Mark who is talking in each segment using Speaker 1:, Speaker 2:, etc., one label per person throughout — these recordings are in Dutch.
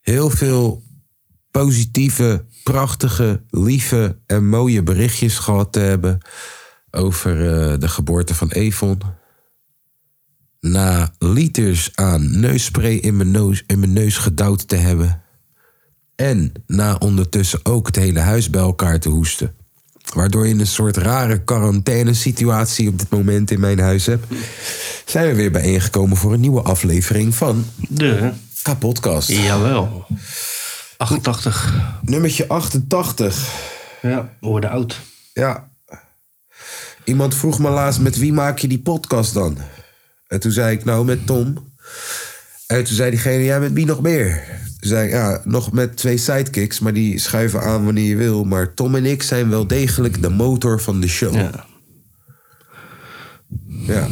Speaker 1: heel veel positieve, prachtige, lieve en mooie berichtjes gehad te hebben over eh, de geboorte van Evon. Na liters aan neusspray in mijn neus, in mijn neus gedouwd te hebben. En na ondertussen ook het hele huis bij elkaar te hoesten. Waardoor je een soort rare quarantainesituatie op dit moment in mijn huis hebt. Zijn we weer bijeengekomen voor een nieuwe aflevering van
Speaker 2: De.
Speaker 1: Kapodcast.
Speaker 2: Jawel. 88.
Speaker 1: Nummertje 88.
Speaker 2: Ja. We worden oud.
Speaker 1: Ja. Iemand vroeg me laatst, met wie maak je die podcast dan? En toen zei ik, nou, met Tom. En toen zei diegene, ja, met wie nog meer? Toen zei ik, ja, nog met twee sidekicks, maar die schuiven aan wanneer je wil. Maar Tom en ik zijn wel degelijk de motor van de show.
Speaker 2: Ja.
Speaker 1: Ja.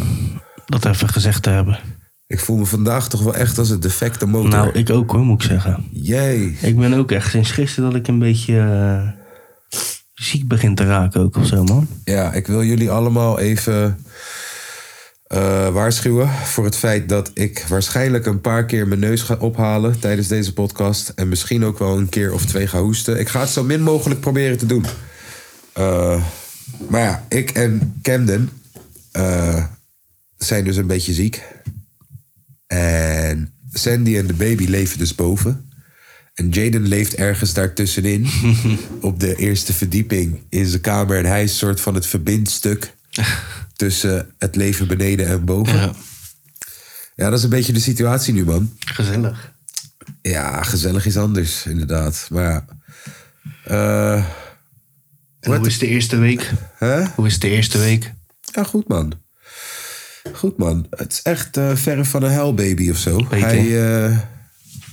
Speaker 2: Dat even gezegd te hebben.
Speaker 1: Ik voel me vandaag toch wel echt als een defecte motor.
Speaker 2: Nou, ik ook hoor, moet ik zeggen.
Speaker 1: Jee.
Speaker 2: Ik ben ook echt sinds gisteren dat ik een beetje eh, ziek begin te raken ook of zo, man.
Speaker 1: Ja, ik wil jullie allemaal even eh, waarschuwen voor het feit dat ik waarschijnlijk een paar keer mijn neus ga ophalen tijdens deze podcast. En misschien ook wel een keer of twee ga hoesten. Ik ga het zo min mogelijk proberen te doen. Eh, maar ja, ik en Camden eh, zijn dus een beetje ziek. En Sandy en de baby leven dus boven. En Jaden leeft ergens daartussenin. op de eerste verdieping in zijn kamer. En hij is een soort van het verbindstuk tussen het leven beneden en boven. Ja. dat is een beetje de situatie nu, man.
Speaker 2: Gezellig.
Speaker 1: Ja, gezellig is anders, inderdaad. Maar ja. Eh,
Speaker 2: En hoe is de eerste week?
Speaker 1: hè?
Speaker 2: Hoe is de eerste week?
Speaker 1: Ja, goed man. Goed man. Het is echt eh, verre van een hellbaby of zo.
Speaker 2: Beter.
Speaker 1: Hij, eh,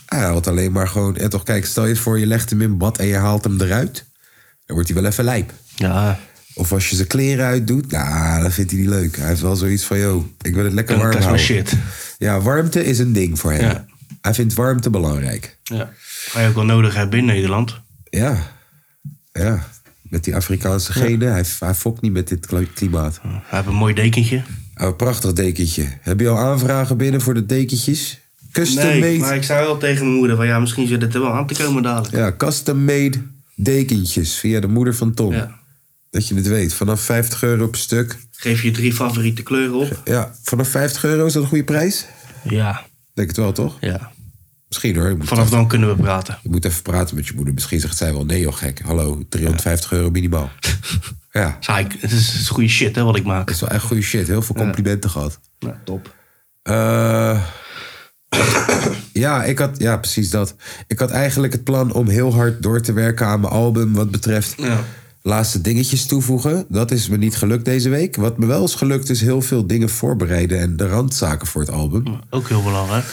Speaker 1: hij had alleen maar gewoon... En toch, kijk, stel je voor, je legt hem in bad en je haalt hem eruit. Dan wordt hij wel even lijp.
Speaker 2: Ja,
Speaker 1: Of als je zijn kleren uitdoet, nou, dan vindt hij niet leuk. Hij heeft wel zoiets van, yo, ik wil het lekker
Speaker 2: Ja,
Speaker 1: warm
Speaker 2: dat is
Speaker 1: houden.
Speaker 2: mijn shit.
Speaker 1: Ja, warmte is een ding voor hem.
Speaker 2: Ja.
Speaker 1: Hij vindt warmte belangrijk.
Speaker 2: ja. Ga je ook wel nodig hebben in Nederland.
Speaker 1: Ja, ja. Met die Afrikaanse genen, hij, hij fokt niet met dit kli- klimaat.
Speaker 2: Hij heeft een mooi dekentje.
Speaker 1: Oh, prachtig dekentje. Heb je al aanvragen binnen voor de dekentjes? Custom made.
Speaker 2: maar ik zei wel tegen mijn moeder van ja, misschien zit het er wel aan te komen dadelijk.
Speaker 1: Ja, custom made dekentjes via de moeder van Tom.
Speaker 2: Ja.
Speaker 1: Dat je het weet. Vanaf 50 euro per stuk.
Speaker 2: Geef je drie favoriete kleuren op.
Speaker 1: Ja, vanaf 50 euro is dat een goede prijs?
Speaker 2: Ja,
Speaker 1: Denk het wel, toch?
Speaker 2: ja.
Speaker 1: Misschien hoor. Ik moet
Speaker 2: Vanaf dan kunnen we praten.
Speaker 1: Je moet even praten met je moeder. Misschien zegt zij wel, nee joh gek, hallo, 350 euro minimaal. ja,
Speaker 2: Zei ik, het is, het is goede shit hè, wat ik maak.
Speaker 1: dat is wel echt goede shit. Heel veel complimenten gehad.
Speaker 2: Nou, top.
Speaker 1: Eh, ja, ik had, ja, precies dat. Ik had eigenlijk het plan om heel hard door te werken aan mijn album wat betreft...
Speaker 2: Ja.
Speaker 1: Laatste dingetjes toevoegen. Dat is me niet gelukt deze week. Wat me wel is gelukt is heel veel dingen voorbereiden en de randzaken voor het album.
Speaker 2: Ook heel belangrijk.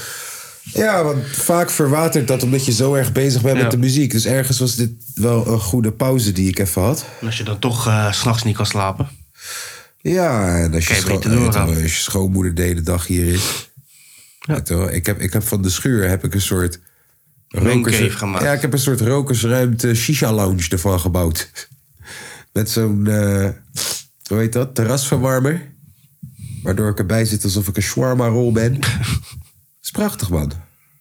Speaker 1: Ja, want vaak verwatert dat omdat je zo erg bezig bent
Speaker 2: Ja.
Speaker 1: met de muziek. Dus ergens was dit wel een goede pauze die ik even had.
Speaker 2: En als je dan toch eh, 's s'nachts niet kan slapen.
Speaker 1: Ja, en als je,
Speaker 2: Kan je
Speaker 1: scho-
Speaker 2: beter
Speaker 1: weet
Speaker 2: doorgaan.
Speaker 1: wel, als je schoonmoeder de hele dag hier is. Weet je wel, ik, heb, ik heb van de schuur heb ik een soort...
Speaker 2: Mancave gemaakt.
Speaker 1: Ja, ik heb een soort rokersruimte shisha lounge ervan gebouwd. Met zo'n, eh, hoe heet dat, terrasverwarmer. Waardoor ik erbij zit alsof ik een shawarma rol ben. is prachtig, man.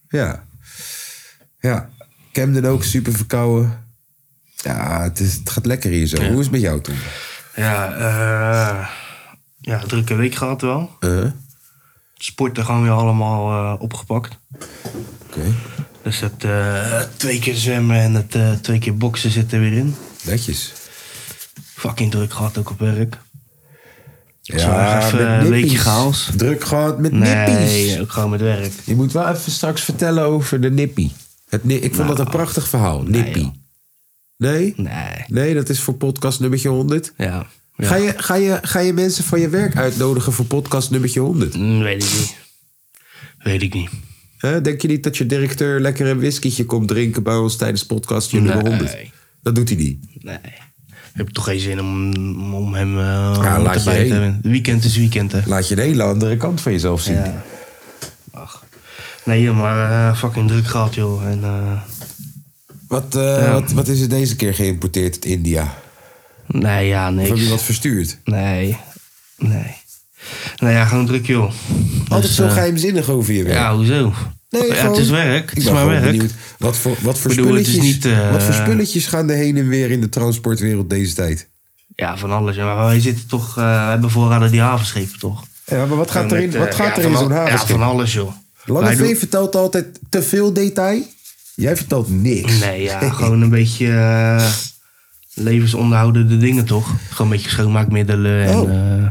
Speaker 1: Ja. Ja. Camden ook super verkouden. Ja, het, is, het gaat lekker hier zo. Hoe is het met jou, Tom?
Speaker 2: Ja, eh ja, drukke week gehad wel.
Speaker 1: Eh,
Speaker 2: Sporten gewoon weer allemaal eh, opgepakt.
Speaker 1: Oké.
Speaker 2: Dus het eh, twee keer zwemmen en het eh, twee keer boksen zit er weer in.
Speaker 1: Netjes.
Speaker 2: Fucking druk gehad ook op werk.
Speaker 1: Ja,
Speaker 2: Zorg even
Speaker 1: met
Speaker 2: een
Speaker 1: nippies.
Speaker 2: beetje chaos.
Speaker 1: Druk gehad met nippies.
Speaker 2: Nee, ook gewoon met werk.
Speaker 1: Je moet wel even straks vertellen over de nippie. Het, ni- ik vond dat een
Speaker 2: Nou.
Speaker 1: prachtig verhaal, nippie. Nee?
Speaker 2: Nee.
Speaker 1: Nee, dat is voor podcast nummertje 100.
Speaker 2: Ja. ja.
Speaker 1: Ga, je, ga, je, ga je mensen van je werk uitnodigen voor podcast nummertje 100?
Speaker 2: Mm, Weet ik niet. Weet ik niet.
Speaker 1: Hè, denk je niet dat je directeur lekker een whiskietje komt drinken bij ons tijdens podcast je nummer 100?
Speaker 2: Nee.
Speaker 1: Dat doet hij niet.
Speaker 2: Nee. Ik heb toch geen zin om, om hem eh
Speaker 1: Ja,
Speaker 2: om
Speaker 1: laat
Speaker 2: te
Speaker 1: je
Speaker 2: bij te
Speaker 1: heen.
Speaker 2: hebben. Weekend is weekend, hè.
Speaker 1: Laat je een hele andere kant van jezelf zien.
Speaker 2: Ja. Ach. Nee, joh, maar eh, fucking druk gehad, joh. En, eh,
Speaker 1: Wat, eh, wat, wat is er deze keer geïmporteerd uit India?
Speaker 2: nee, ja,
Speaker 1: Of heb je
Speaker 2: niks.
Speaker 1: wat verstuurd?
Speaker 2: Nee. Nee. Nou ja, gewoon druk, joh.
Speaker 1: Altijd
Speaker 2: Dus,
Speaker 1: zo
Speaker 2: eh,
Speaker 1: geheimzinnig over je werk.
Speaker 2: Ja, hoezo?
Speaker 1: Nee,
Speaker 2: ja,
Speaker 1: gewoon-
Speaker 2: het is werk.
Speaker 1: Ik
Speaker 2: Het is
Speaker 1: ben
Speaker 2: maar
Speaker 1: gewoon
Speaker 2: werk.
Speaker 1: benieuwd, wat voor, wat, voor
Speaker 2: Ik bedoel, het is
Speaker 1: spulletjes,
Speaker 2: niet, eh,
Speaker 1: wat voor spulletjes gaan er heen en weer in de transportwereld deze tijd?
Speaker 2: Ja, van alles. ja. Maar wij zitten toch... eh, wij hebben voorraden die havenschepen, toch?
Speaker 1: Ja, maar wat gaat er in,
Speaker 2: Met, eh,
Speaker 1: wat gaat
Speaker 2: ja,
Speaker 1: er in
Speaker 2: van
Speaker 1: zo'n
Speaker 2: al-
Speaker 1: havenschip?
Speaker 2: Ja, van alles, joh. Wij
Speaker 1: Lange
Speaker 2: doen-
Speaker 1: V vertelt altijd te veel detail. Jij vertelt niks.
Speaker 2: Nee, ja, gewoon een beetje eh, levensonderhoudende dingen toch? Gewoon een beetje schoonmaakmiddelen en
Speaker 1: Oh.
Speaker 2: eh,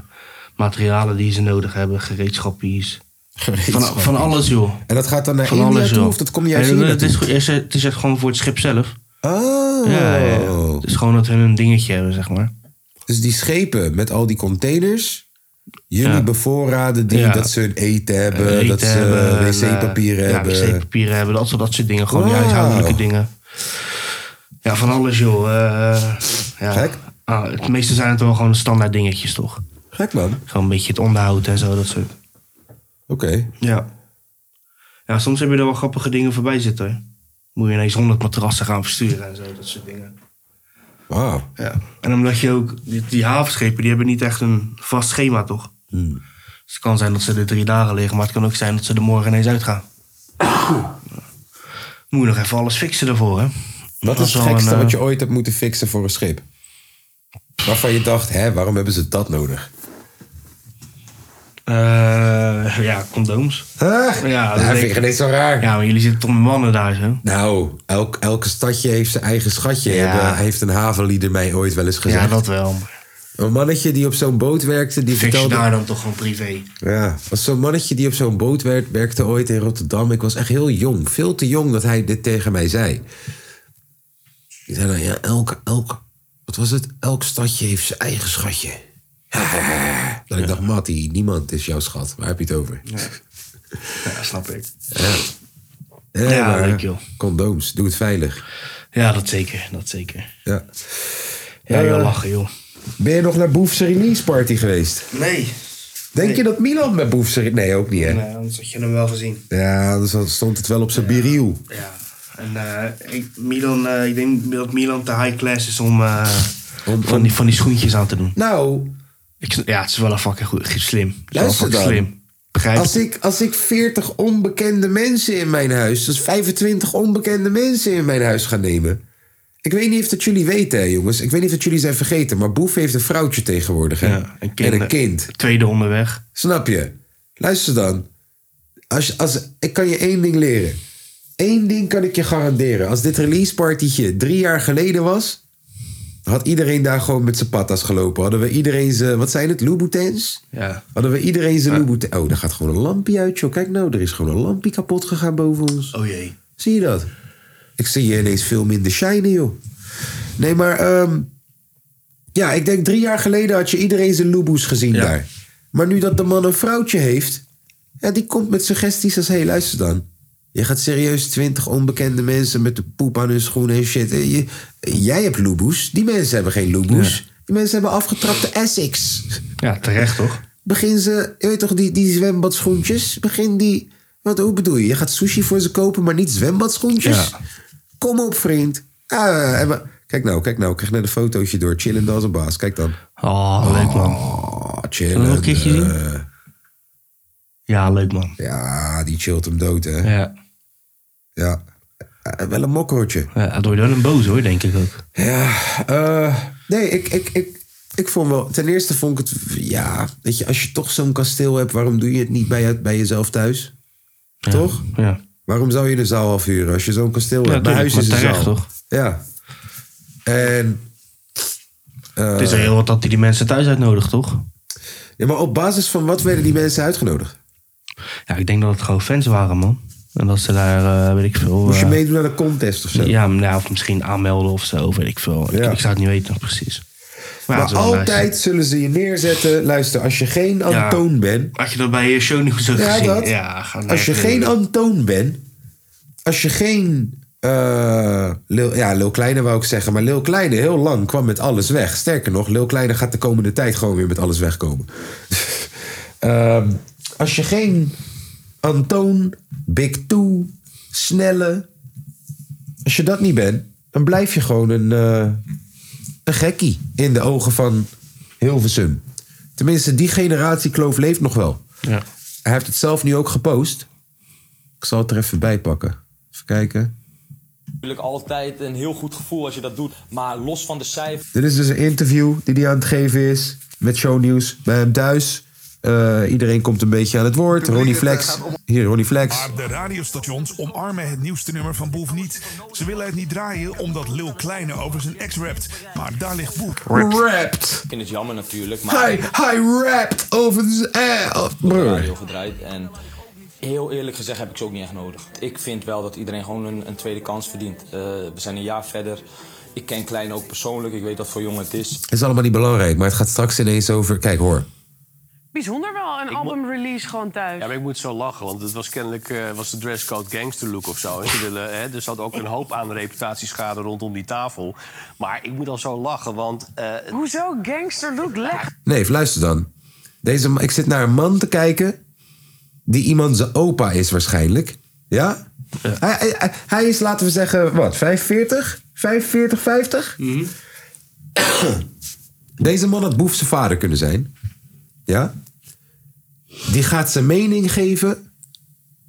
Speaker 2: materialen die ze nodig hebben, gereedschappies. Van, van alles joh.
Speaker 1: En dat gaat dan naar
Speaker 2: Van
Speaker 1: India
Speaker 2: alles
Speaker 1: toe
Speaker 2: joh.
Speaker 1: of dat komt juist
Speaker 2: Nee,
Speaker 1: hier
Speaker 2: nee, het, is,
Speaker 1: naartoe?
Speaker 2: het is- het is echt gewoon voor het schip zelf.
Speaker 1: Oh.
Speaker 2: Ja, ja, ja. Het is gewoon dat hun een dingetje hebben, zeg maar.
Speaker 1: Dus die schepen met al die containers. Jullie
Speaker 2: Ja.
Speaker 1: bevoorraden die
Speaker 2: Ja.
Speaker 1: dat ze hun eten hebben.
Speaker 2: Eten
Speaker 1: dat ze
Speaker 2: hebben,
Speaker 1: eh,
Speaker 2: en, eh,
Speaker 1: wc-papieren hebben.
Speaker 2: Ja, wc-papieren hebben, dat soort, dat soort dingen. Gewoon die
Speaker 1: Wauw.
Speaker 2: huishoudelijke dingen. Ja, van alles joh. eh, ja.
Speaker 1: Gek.
Speaker 2: Ah, het meeste zijn het wel gewoon standaard dingetjes toch?
Speaker 1: Gek man. Oké.
Speaker 2: Gewoon een beetje het onderhoud en zo, dat soort. Ja. Ja, soms heb je er wel grappige dingen voorbij zitten. hoor. Moet je ineens 100 matrassen gaan versturen en zo, dat soort dingen.
Speaker 1: Wauw.
Speaker 2: Ja. En omdat je ook, die, die havenschepen, die hebben niet echt een vast schema, toch?
Speaker 1: Hmm.
Speaker 2: Dus het kan zijn dat ze er drie dagen liggen, maar het kan ook zijn dat ze er morgen ineens uitgaan. Moet je nog even alles fixen daarvoor, hè?
Speaker 1: Wat
Speaker 2: Dat
Speaker 1: is het
Speaker 2: wel
Speaker 1: gekste
Speaker 2: een, eh,
Speaker 1: wat je ooit hebt moeten fixen voor een schip? Waarvan je dacht, hè, waarom hebben ze dat nodig?
Speaker 2: eh, ja, condooms.
Speaker 1: Huh?
Speaker 2: Ja, dat
Speaker 1: dat
Speaker 2: denk
Speaker 1: vind
Speaker 2: ik.
Speaker 1: ik niet zo raar.
Speaker 2: Ja, maar jullie zitten toch met mannen daar, zo?
Speaker 1: Nou, elk, elke stadje heeft zijn eigen schatje.
Speaker 2: Ja.
Speaker 1: Hebben- heeft een havenlieder mij ooit wel eens gezegd.
Speaker 2: Ja, dat wel. Maar
Speaker 1: Een mannetje die op zo'n boot werkte, die
Speaker 2: fix je
Speaker 1: vertelde...
Speaker 2: daar dan toch gewoon privé?
Speaker 1: Ja, was zo'n mannetje die op zo'n boot werd, werkte ooit in Rotterdam. Ik was echt heel jong, veel te jong dat hij dit tegen mij zei. Die zei dan, ja, elke, elke, wat was het? Elk stadje heeft zijn eigen schatje. Dat ik dacht, Mattie, niemand is jouw schat. Waar heb je het over?
Speaker 2: Ja, snap ik.
Speaker 1: Ja,
Speaker 2: Ja,
Speaker 1: maar,
Speaker 2: leuk, joh.
Speaker 1: Condooms, doe het veilig.
Speaker 2: Ja, dat zeker, dat zeker.
Speaker 1: Ja.
Speaker 2: Ja,
Speaker 1: Eh,
Speaker 2: joh, lachen, joh.
Speaker 1: Ben je nog naar Boefse Release Party geweest?
Speaker 2: Nee.
Speaker 1: Denk je dat Milan met Boefse... Re- Nee, ook niet, hè?
Speaker 2: Nee, anders had je hem wel gezien.
Speaker 1: Ja, anders had- stond het wel op zijn biriel.
Speaker 2: Ja. En eh, ik, Milan, eh, ik denk dat Milan te high class is om, eh,
Speaker 1: Om-
Speaker 2: van,
Speaker 1: om-
Speaker 2: die, van die schoentjes aan te doen.
Speaker 1: Nou,
Speaker 2: Ik, sn- ja, het is wel een fucking goed, slim. Het is wel
Speaker 1: Luister
Speaker 2: fucking
Speaker 1: dan.
Speaker 2: slim. Begrijp
Speaker 1: als ik, als ik 40 onbekende mensen in mijn huis... dus 25 onbekende mensen in mijn huis ga nemen... Ik weet niet of dat jullie weten, hè, jongens. Ik weet niet of dat jullie zijn vergeten... maar Boef heeft een vrouwtje tegenwoordig, hè?
Speaker 2: Ja, een kind.
Speaker 1: En een kind.
Speaker 2: Tweede onderweg.
Speaker 1: Snap je? Luister dan. Als, je- als, ik kan je één ding leren. Eén ding kan ik je garanderen. Als dit release partytje drie jaar geleden was... had iedereen daar gewoon met zijn patas gelopen. Hadden we iedereen zijn... Wat zijn het? Louboutins?
Speaker 2: Ja.
Speaker 1: Hadden we iedereen zijn Louboutin... Oh, daar gaat gewoon een lampje uit, joh. Kijk nou, er is gewoon een lampje kapot gegaan boven ons.
Speaker 2: Oh jee.
Speaker 1: Zie je dat? Ik zie je ineens veel minder shinen, joh. Nee, maar... ehm, ja, ik denk drie jaar geleden had je iedereen zijn loeboes gezien
Speaker 2: Ja.
Speaker 1: daar. Maar nu dat de man een vrouwtje heeft... Ja, die komt met suggesties als... Hé, hey, luister dan. Je gaat serieus twintig onbekende mensen met de poep aan hun schoenen en shit. Eh, je- jij hebt loeboes. Die mensen hebben geen loeboes. Die mensen hebben afgetrapte Essex
Speaker 2: Ja, terecht toch?
Speaker 1: begin ze, je weet toch, die, die zwembadschoentjes. Begin die, wat, hoe bedoel je? Je gaat sushi voor ze kopen, maar niet zwembadschoentjes?
Speaker 2: Ja.
Speaker 1: Kom op, vriend. Ah, en we- kijk nou, kijk nou. Ik krijg net een fotootje door. Chillend als een baas. Kijk dan.
Speaker 2: Oh, leuk man.
Speaker 1: Oh,
Speaker 2: Zullen we nog
Speaker 1: chillen.
Speaker 2: een keertje zien? Ja, leuk man.
Speaker 1: Ja, die chillt hem dood, hè. Ja.
Speaker 2: Ja.
Speaker 1: Eh, wel een mokkertje.
Speaker 2: ja. Dat wordt wel een boos hoor, denk ik ook.
Speaker 1: Ja, eh, nee, ik, ik, ik, ik vond wel... Ten eerste vond ik het... Ja, weet je, als je toch zo'n kasteel hebt... waarom doe je het niet bij, je- bij jezelf thuis? Toch?
Speaker 2: Ja.
Speaker 1: Waarom zou je een zaal afhuren als je zo'n kasteel
Speaker 2: Ja,
Speaker 1: hebt? Mijn
Speaker 2: tuurlijk,
Speaker 1: huis is
Speaker 2: maar
Speaker 1: een
Speaker 2: terecht,
Speaker 1: zaal.
Speaker 2: toch?
Speaker 1: Ja. En, Eh,
Speaker 2: Het is heel wat dat hij die mensen thuis uitnodigt, toch?
Speaker 1: ja, maar op basis van wat werden die mensen uitgenodigd?
Speaker 2: Ja, ik denk dat het gewoon fans waren, man. En dat ze daar, eh, weet ik veel...
Speaker 1: Moest je
Speaker 2: eh,
Speaker 1: meedoen aan een contest of zo?
Speaker 2: Ja, nou, of misschien aanmelden of zo, weet ik veel. Ik,
Speaker 1: Ja.
Speaker 2: ik zou het niet weten precies. Maar het
Speaker 1: maar
Speaker 2: is wel
Speaker 1: altijd
Speaker 2: nice.
Speaker 1: zullen ze je neerzetten. Luister, als je geen
Speaker 2: Ja.
Speaker 1: Antoon bent.
Speaker 2: Had je dat bij eh, shownieuws ook
Speaker 1: Ja,
Speaker 2: gezien?
Speaker 1: dat.
Speaker 2: ga naar
Speaker 1: als je
Speaker 2: even-
Speaker 1: geen Antoon bent. Als je geen. eh, Lil, ja, Lil Kleine wou ik zeggen. Maar Lil Kleine heel lang kwam met alles weg. Sterker nog, Lil Kleine gaat de komende tijd gewoon weer met alles wegkomen. Ehm, als je geen Antoon, Big Two, Snelle. Als je dat niet bent, dan blijf je gewoon een, eh, een gekkie in de ogen van Hilversum. Tenminste, die generatie kloof leeft nog wel.
Speaker 2: Ja.
Speaker 1: Hij heeft het zelf nu ook gepost. Ik zal het er even bij pakken. Even kijken.
Speaker 3: natuurlijk altijd een heel goed gevoel als je dat doet. Maar los van de cijfers.
Speaker 1: Dit is dus een interview die hij aan het geven is. Met shownieuws bij hem thuis. Eh, iedereen komt een beetje aan het woord. Ronnie Flex. Hier, Ronnie Flex.
Speaker 4: Maar de radiostations omarmen het nieuwste nummer van Boef niet. Ze willen het niet draaien omdat Lil Kleine over zijn ex rapt. Maar daar ligt Boef.
Speaker 3: Ik vind het jammer natuurlijk. Maar
Speaker 1: Hij, hij rapt over zijn eh,
Speaker 3: op de
Speaker 1: Brr.
Speaker 3: radio gedraaid. En heel eerlijk gezegd heb ik ze ook niet echt nodig. Ik vind wel dat iedereen gewoon een, een tweede kans verdient. Eh, we zijn een jaar verder. Ik ken Klein ook persoonlijk. Ik weet wat voor jongen het is.
Speaker 1: Is allemaal niet belangrijk, maar het gaat straks ineens over. Kijk hoor.
Speaker 5: Bijzonder wel, een albumrelease gewoon thuis.
Speaker 6: Ja, maar ik moet zo lachen, want het was kennelijk eh, was de dresscode gangster look of zo. En ze willen, hè, er zat ook een hoop aan reputatieschade rondom die tafel. Maar ik moet al zo lachen, want eh,
Speaker 5: Hoezo gangster look? Leg
Speaker 1: Nee, luister dan. Deze, ma- ik zit naar een man te kijken. die iemand zijn opa is, waarschijnlijk. Ja? Hij, hij- hij, hij is, laten we zeggen, wat, 45? 45, 50? Deze man had Boef zijn vader kunnen zijn. Ja? Die gaat zijn mening geven.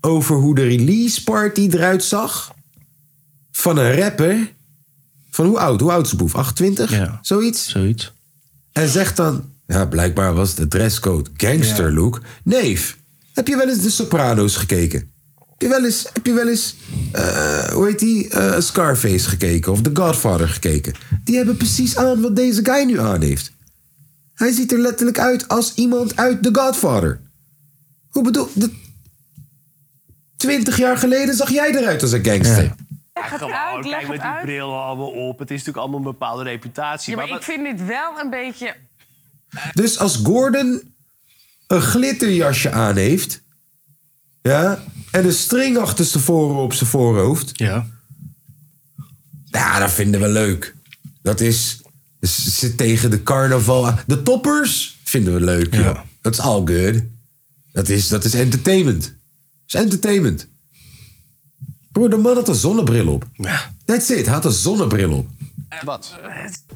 Speaker 1: over hoe de release party eruit zag. van een rapper. Van hoe oud? Hoe oud is Boef? 28?
Speaker 2: Ja.
Speaker 1: Zoiets?
Speaker 2: Zoiets.
Speaker 1: En zegt dan... Ja, blijkbaar was de dresscode gangster look. Neef, heb je wel eens de Sopranos gekeken? Heb je wel eens, heb je wel eens eh, hoe heet die, eh, Scarface gekeken? Of The Godfather gekeken? Die hebben precies aan wat deze guy nu aan heeft. Hij ziet er letterlijk uit als iemand uit The Godfather. Hoe bedoel... De... 20 jaar geleden zag jij eruit als een gangster.
Speaker 5: het
Speaker 6: gewoon,
Speaker 5: uit, leg
Speaker 6: kijk met
Speaker 5: het
Speaker 6: die
Speaker 5: uit.
Speaker 6: brillen allemaal op. Het is natuurlijk allemaal een bepaalde reputatie.
Speaker 5: Ja, maar
Speaker 6: maar
Speaker 5: ik vind dit wel een beetje...
Speaker 1: Dus als Gordon een glitterjasje aan heeft. Ja, en een string achterstevoren op zijn voorhoofd.
Speaker 2: Ja.
Speaker 1: Ja, dat vinden we leuk. Dat is. z- Zit tegen de carnaval. aan. De toppers vinden we leuk. joh. Dat is all good. Dat is, dat is entertainment. Dat is entertainment. Broer, de man had een zonnebril op. That's it, hij had een zonnebril op.
Speaker 6: Wat?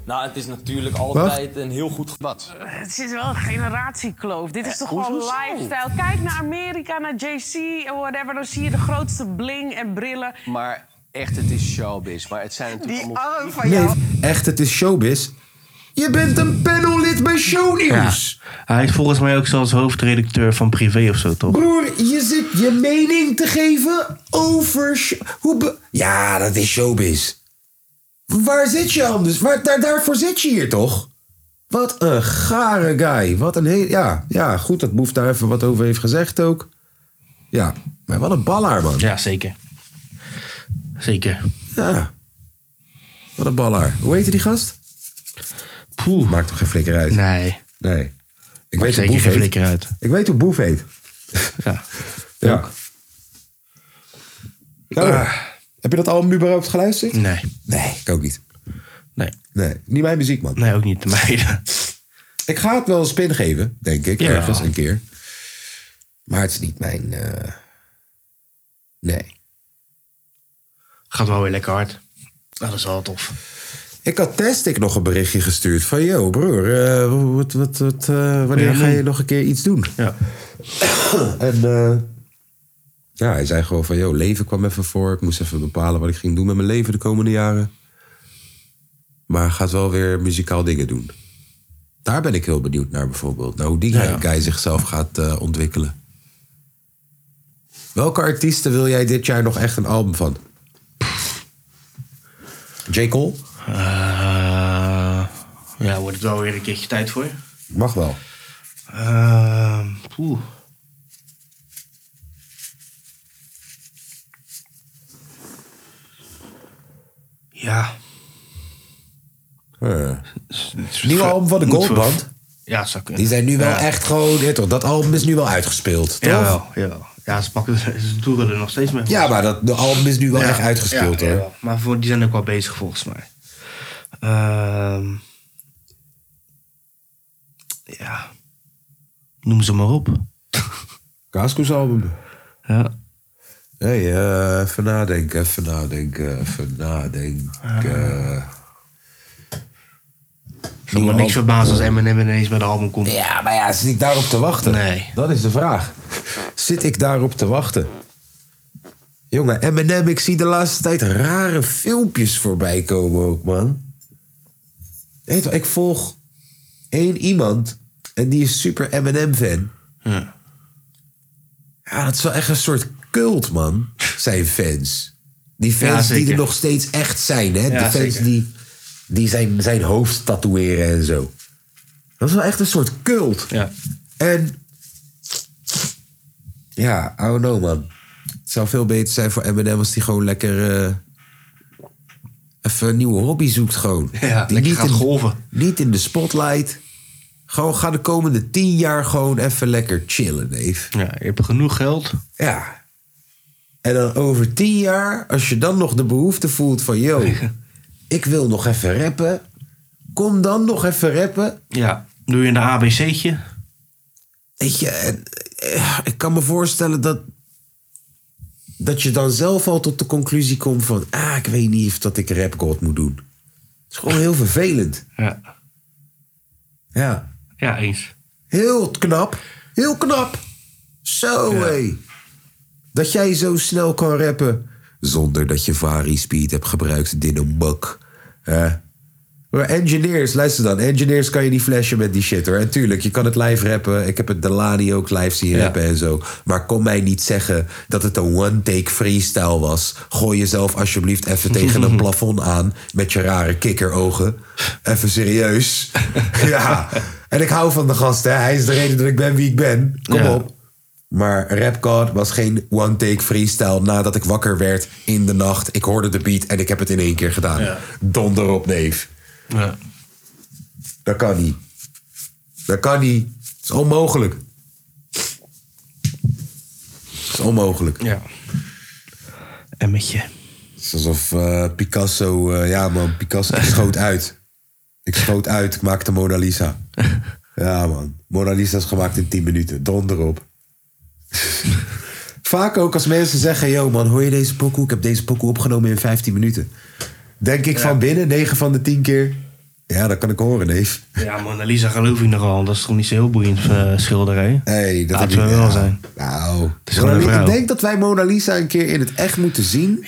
Speaker 3: Nou, het is natuurlijk altijd een heel goed gevoel.
Speaker 6: Wat?
Speaker 5: Het zit wel een generatiekloof. Dit is toch
Speaker 6: hoezo
Speaker 5: gewoon
Speaker 6: zo?
Speaker 5: lifestyle. Kijk naar Amerika, naar JC en whatever. Dan zie je de grootste bling en brillen.
Speaker 6: Maar echt, het is showbiz. Maar het zijn natuurlijk
Speaker 5: Die
Speaker 6: allemaal...
Speaker 5: arm van
Speaker 1: Nee,
Speaker 5: jou.
Speaker 1: echt, het is showbiz. Je bent een panellid bij Shownieuws.
Speaker 2: Hij is volgens mij ook zelfs hoofdredacteur van Privé of zo, toch?
Speaker 1: Broer, je zit je mening te geven over. sh- Hoe be- ja, dat is showbiz. Waar zit je anders? Waar, daar, daarvoor zit je hier toch? Wat een gare guy. Wat een heel. Ja, ja, goed dat Boef daar even wat over heeft gezegd ook. Ja, maar wat een ballaar, man.
Speaker 2: Ja, zeker. Zeker.
Speaker 1: Ja. Wat een ballaar. Hoe heette die gast?
Speaker 2: Poeh.
Speaker 1: Maakt toch geen flikker uit?
Speaker 2: Nee.
Speaker 1: Nee. Ik weet,
Speaker 2: Maakt
Speaker 1: hoe
Speaker 2: zeker
Speaker 1: boef
Speaker 2: geen
Speaker 1: heet.
Speaker 2: flikker uit.
Speaker 1: Ik weet hoe Boef heet.
Speaker 2: Ja.
Speaker 1: Ja. Nou, heb je dat album überhaupt geluisterd?
Speaker 2: Nee.
Speaker 1: Nee, ik ook niet.
Speaker 2: Nee.
Speaker 1: Nee, niet mijn muziek, man.
Speaker 2: Nee, ook niet de meiden.
Speaker 1: Ik ga het wel een spin geven, denk ik,
Speaker 2: Ja.
Speaker 1: ergens een keer. Maar het is niet mijn... eh, Nee.
Speaker 2: Gaat wel weer lekker hard. Dat is wel tof.
Speaker 1: Ik had Testic nog een berichtje gestuurd van... Yo, broer, eh, wat, wat, wat, eh, wanneer
Speaker 2: Ja,
Speaker 1: ga
Speaker 2: nee.
Speaker 1: je nog een keer iets doen?
Speaker 2: Ja.
Speaker 1: En eh, ja, hij zei gewoon van... Yo, leven kwam even voor. Ik moest even bepalen wat ik ging doen met mijn leven de komende jaren. Maar gaat wel weer muzikaal dingen doen. Daar ben ik heel benieuwd naar bijvoorbeeld. Nou, hoe die
Speaker 2: Ja.
Speaker 1: guy zichzelf gaat eh, ontwikkelen. Welke artiesten wil jij dit jaar nog echt een album van? J. Cole?
Speaker 2: Eh, ja, wordt het wel weer een keertje tijd voor.
Speaker 1: Mag wel. Eh,
Speaker 2: Ehm, poeh. Ja.
Speaker 1: Nieuw album van de
Speaker 2: Eh. Moet wel-
Speaker 1: Goldband.
Speaker 2: Ja, zou kunnen.
Speaker 1: Die zijn nu wel
Speaker 2: Ja.
Speaker 1: echt gewoon... Ja, toch, dat album is nu wel uitgespeeld, toch?
Speaker 2: Jawel, jawel. Ja, ze, pakken, ze toeren er nog steeds mee.
Speaker 1: Ja, maar dat, de album is nu wel
Speaker 2: Ja,
Speaker 1: echt uitgespeeld,
Speaker 2: ja,
Speaker 1: hoor.
Speaker 2: jawel. Maar voor, die zijn ook wel bezig volgens mij. Ehm, ja. Noem ze maar op.
Speaker 1: Casco's album.
Speaker 2: Ja.
Speaker 1: Hey, eh, even nadenken, even nadenken, even nadenken.
Speaker 2: Het zal me niks verbazen als Eminem ineens met een album komt.
Speaker 1: Ja, maar ja, zit ik daarop te wachten?
Speaker 2: Nee.
Speaker 1: Dat is de vraag. Zit ik daarop te wachten? Jongen, Eminem, ik zie de laatste tijd rare filmpjes voorbij komen ook, man. Weet je wel, ik volg één iemand en die is super Eminem-fan. Ja. dat is wel echt een soort cult, man. Zijn fans. Die
Speaker 2: Ja,
Speaker 1: fans die
Speaker 2: zeker.
Speaker 1: er nog steeds echt zijn, hè.
Speaker 2: Ja,
Speaker 1: de fans
Speaker 2: zeker.
Speaker 1: die, die zijn, zijn hoofd tatoeëren en zo. Dat is wel echt een soort cult.
Speaker 2: Ja.
Speaker 1: En ja, I don't know, man. Het zou veel beter zijn voor Eminem als hij gewoon lekker... eh, even een nieuwe hobby zoekt gewoon.
Speaker 2: Ja,
Speaker 1: Die
Speaker 2: lekker gaat
Speaker 1: in,
Speaker 2: golven.
Speaker 1: Niet in de spotlight. Gewoon ga de komende tien jaar gewoon even lekker chillen, neef.
Speaker 2: Ja, je hebt genoeg geld.
Speaker 1: Ja. En dan over tien jaar, als je dan nog de behoefte voelt van... yo, ik wil nog even rappen. Kom dan nog even rappen.
Speaker 2: Ja. Doe je een ABC'tje.
Speaker 1: Weet je, en, eh, ik kan me voorstellen dat... dat je dan zelf al tot de conclusie komt van... ah, ik weet niet of dat ik rap god moet doen. Het is gewoon heel vervelend.
Speaker 2: Ja.
Speaker 1: Ja.
Speaker 2: Ja, eens.
Speaker 1: Heel knap. Heel knap. Zo, hé. Dat jij zo snel kan rappen. Zonder dat je vari-speed hebt gebruikt, dinnemak. Hè? Maar engineers, luister dan. Engineers kan je niet flashen met die shit, hoor. En tuurlijk, je kan het live rappen. Ik heb het Delani ook live zien rappen en zo. Maar kom mij niet zeggen dat het een one-take freestyle was. Gooi jezelf alsjeblieft even tegen een plafond aan... met je rare kikkerogen. Even serieus. ja. En ik hou van de gast, hè. Hij is de reden dat ik ben wie ik ben. Kom
Speaker 2: Ja.
Speaker 1: op. Maar Rap God was geen one-take freestyle nadat ik wakker werd in de nacht. Ik hoorde de beat en ik heb het in één keer gedaan.
Speaker 2: Ja.
Speaker 1: Donder op, neef.
Speaker 2: Ja.
Speaker 1: Dat kan niet. Dat kan niet. Het is onmogelijk. Het is onmogelijk.
Speaker 2: Ja. En met je.
Speaker 1: Het is alsof eh, Picasso... eh, ja man, Picasso ik schoot uit. Ik schoot uit, ik maakte Mona Lisa. Ja man, Mona Lisa is gemaakt in 10 minuten. Donder op. Vaak ook als mensen zeggen... Yo man, hoor je deze pokoe? Ik heb deze pokoe opgenomen in 15 minuten. Denk ik van binnen 9 van de 10 keer... Ja, dat kan ik horen, neef.
Speaker 2: Ja, Mona Lisa geloof ik nogal. Dat is toch niet zo heel boeiend eh, schilderij?
Speaker 1: Hey, dat
Speaker 2: Laten
Speaker 1: heb
Speaker 2: we
Speaker 1: ik-
Speaker 2: wel
Speaker 1: ja.
Speaker 2: zijn.
Speaker 1: Nou,
Speaker 2: is gewoon
Speaker 1: Mona
Speaker 2: een
Speaker 1: Li-
Speaker 2: vrouw.
Speaker 1: ik denk dat wij Mona Lisa een keer in het echt moeten zien.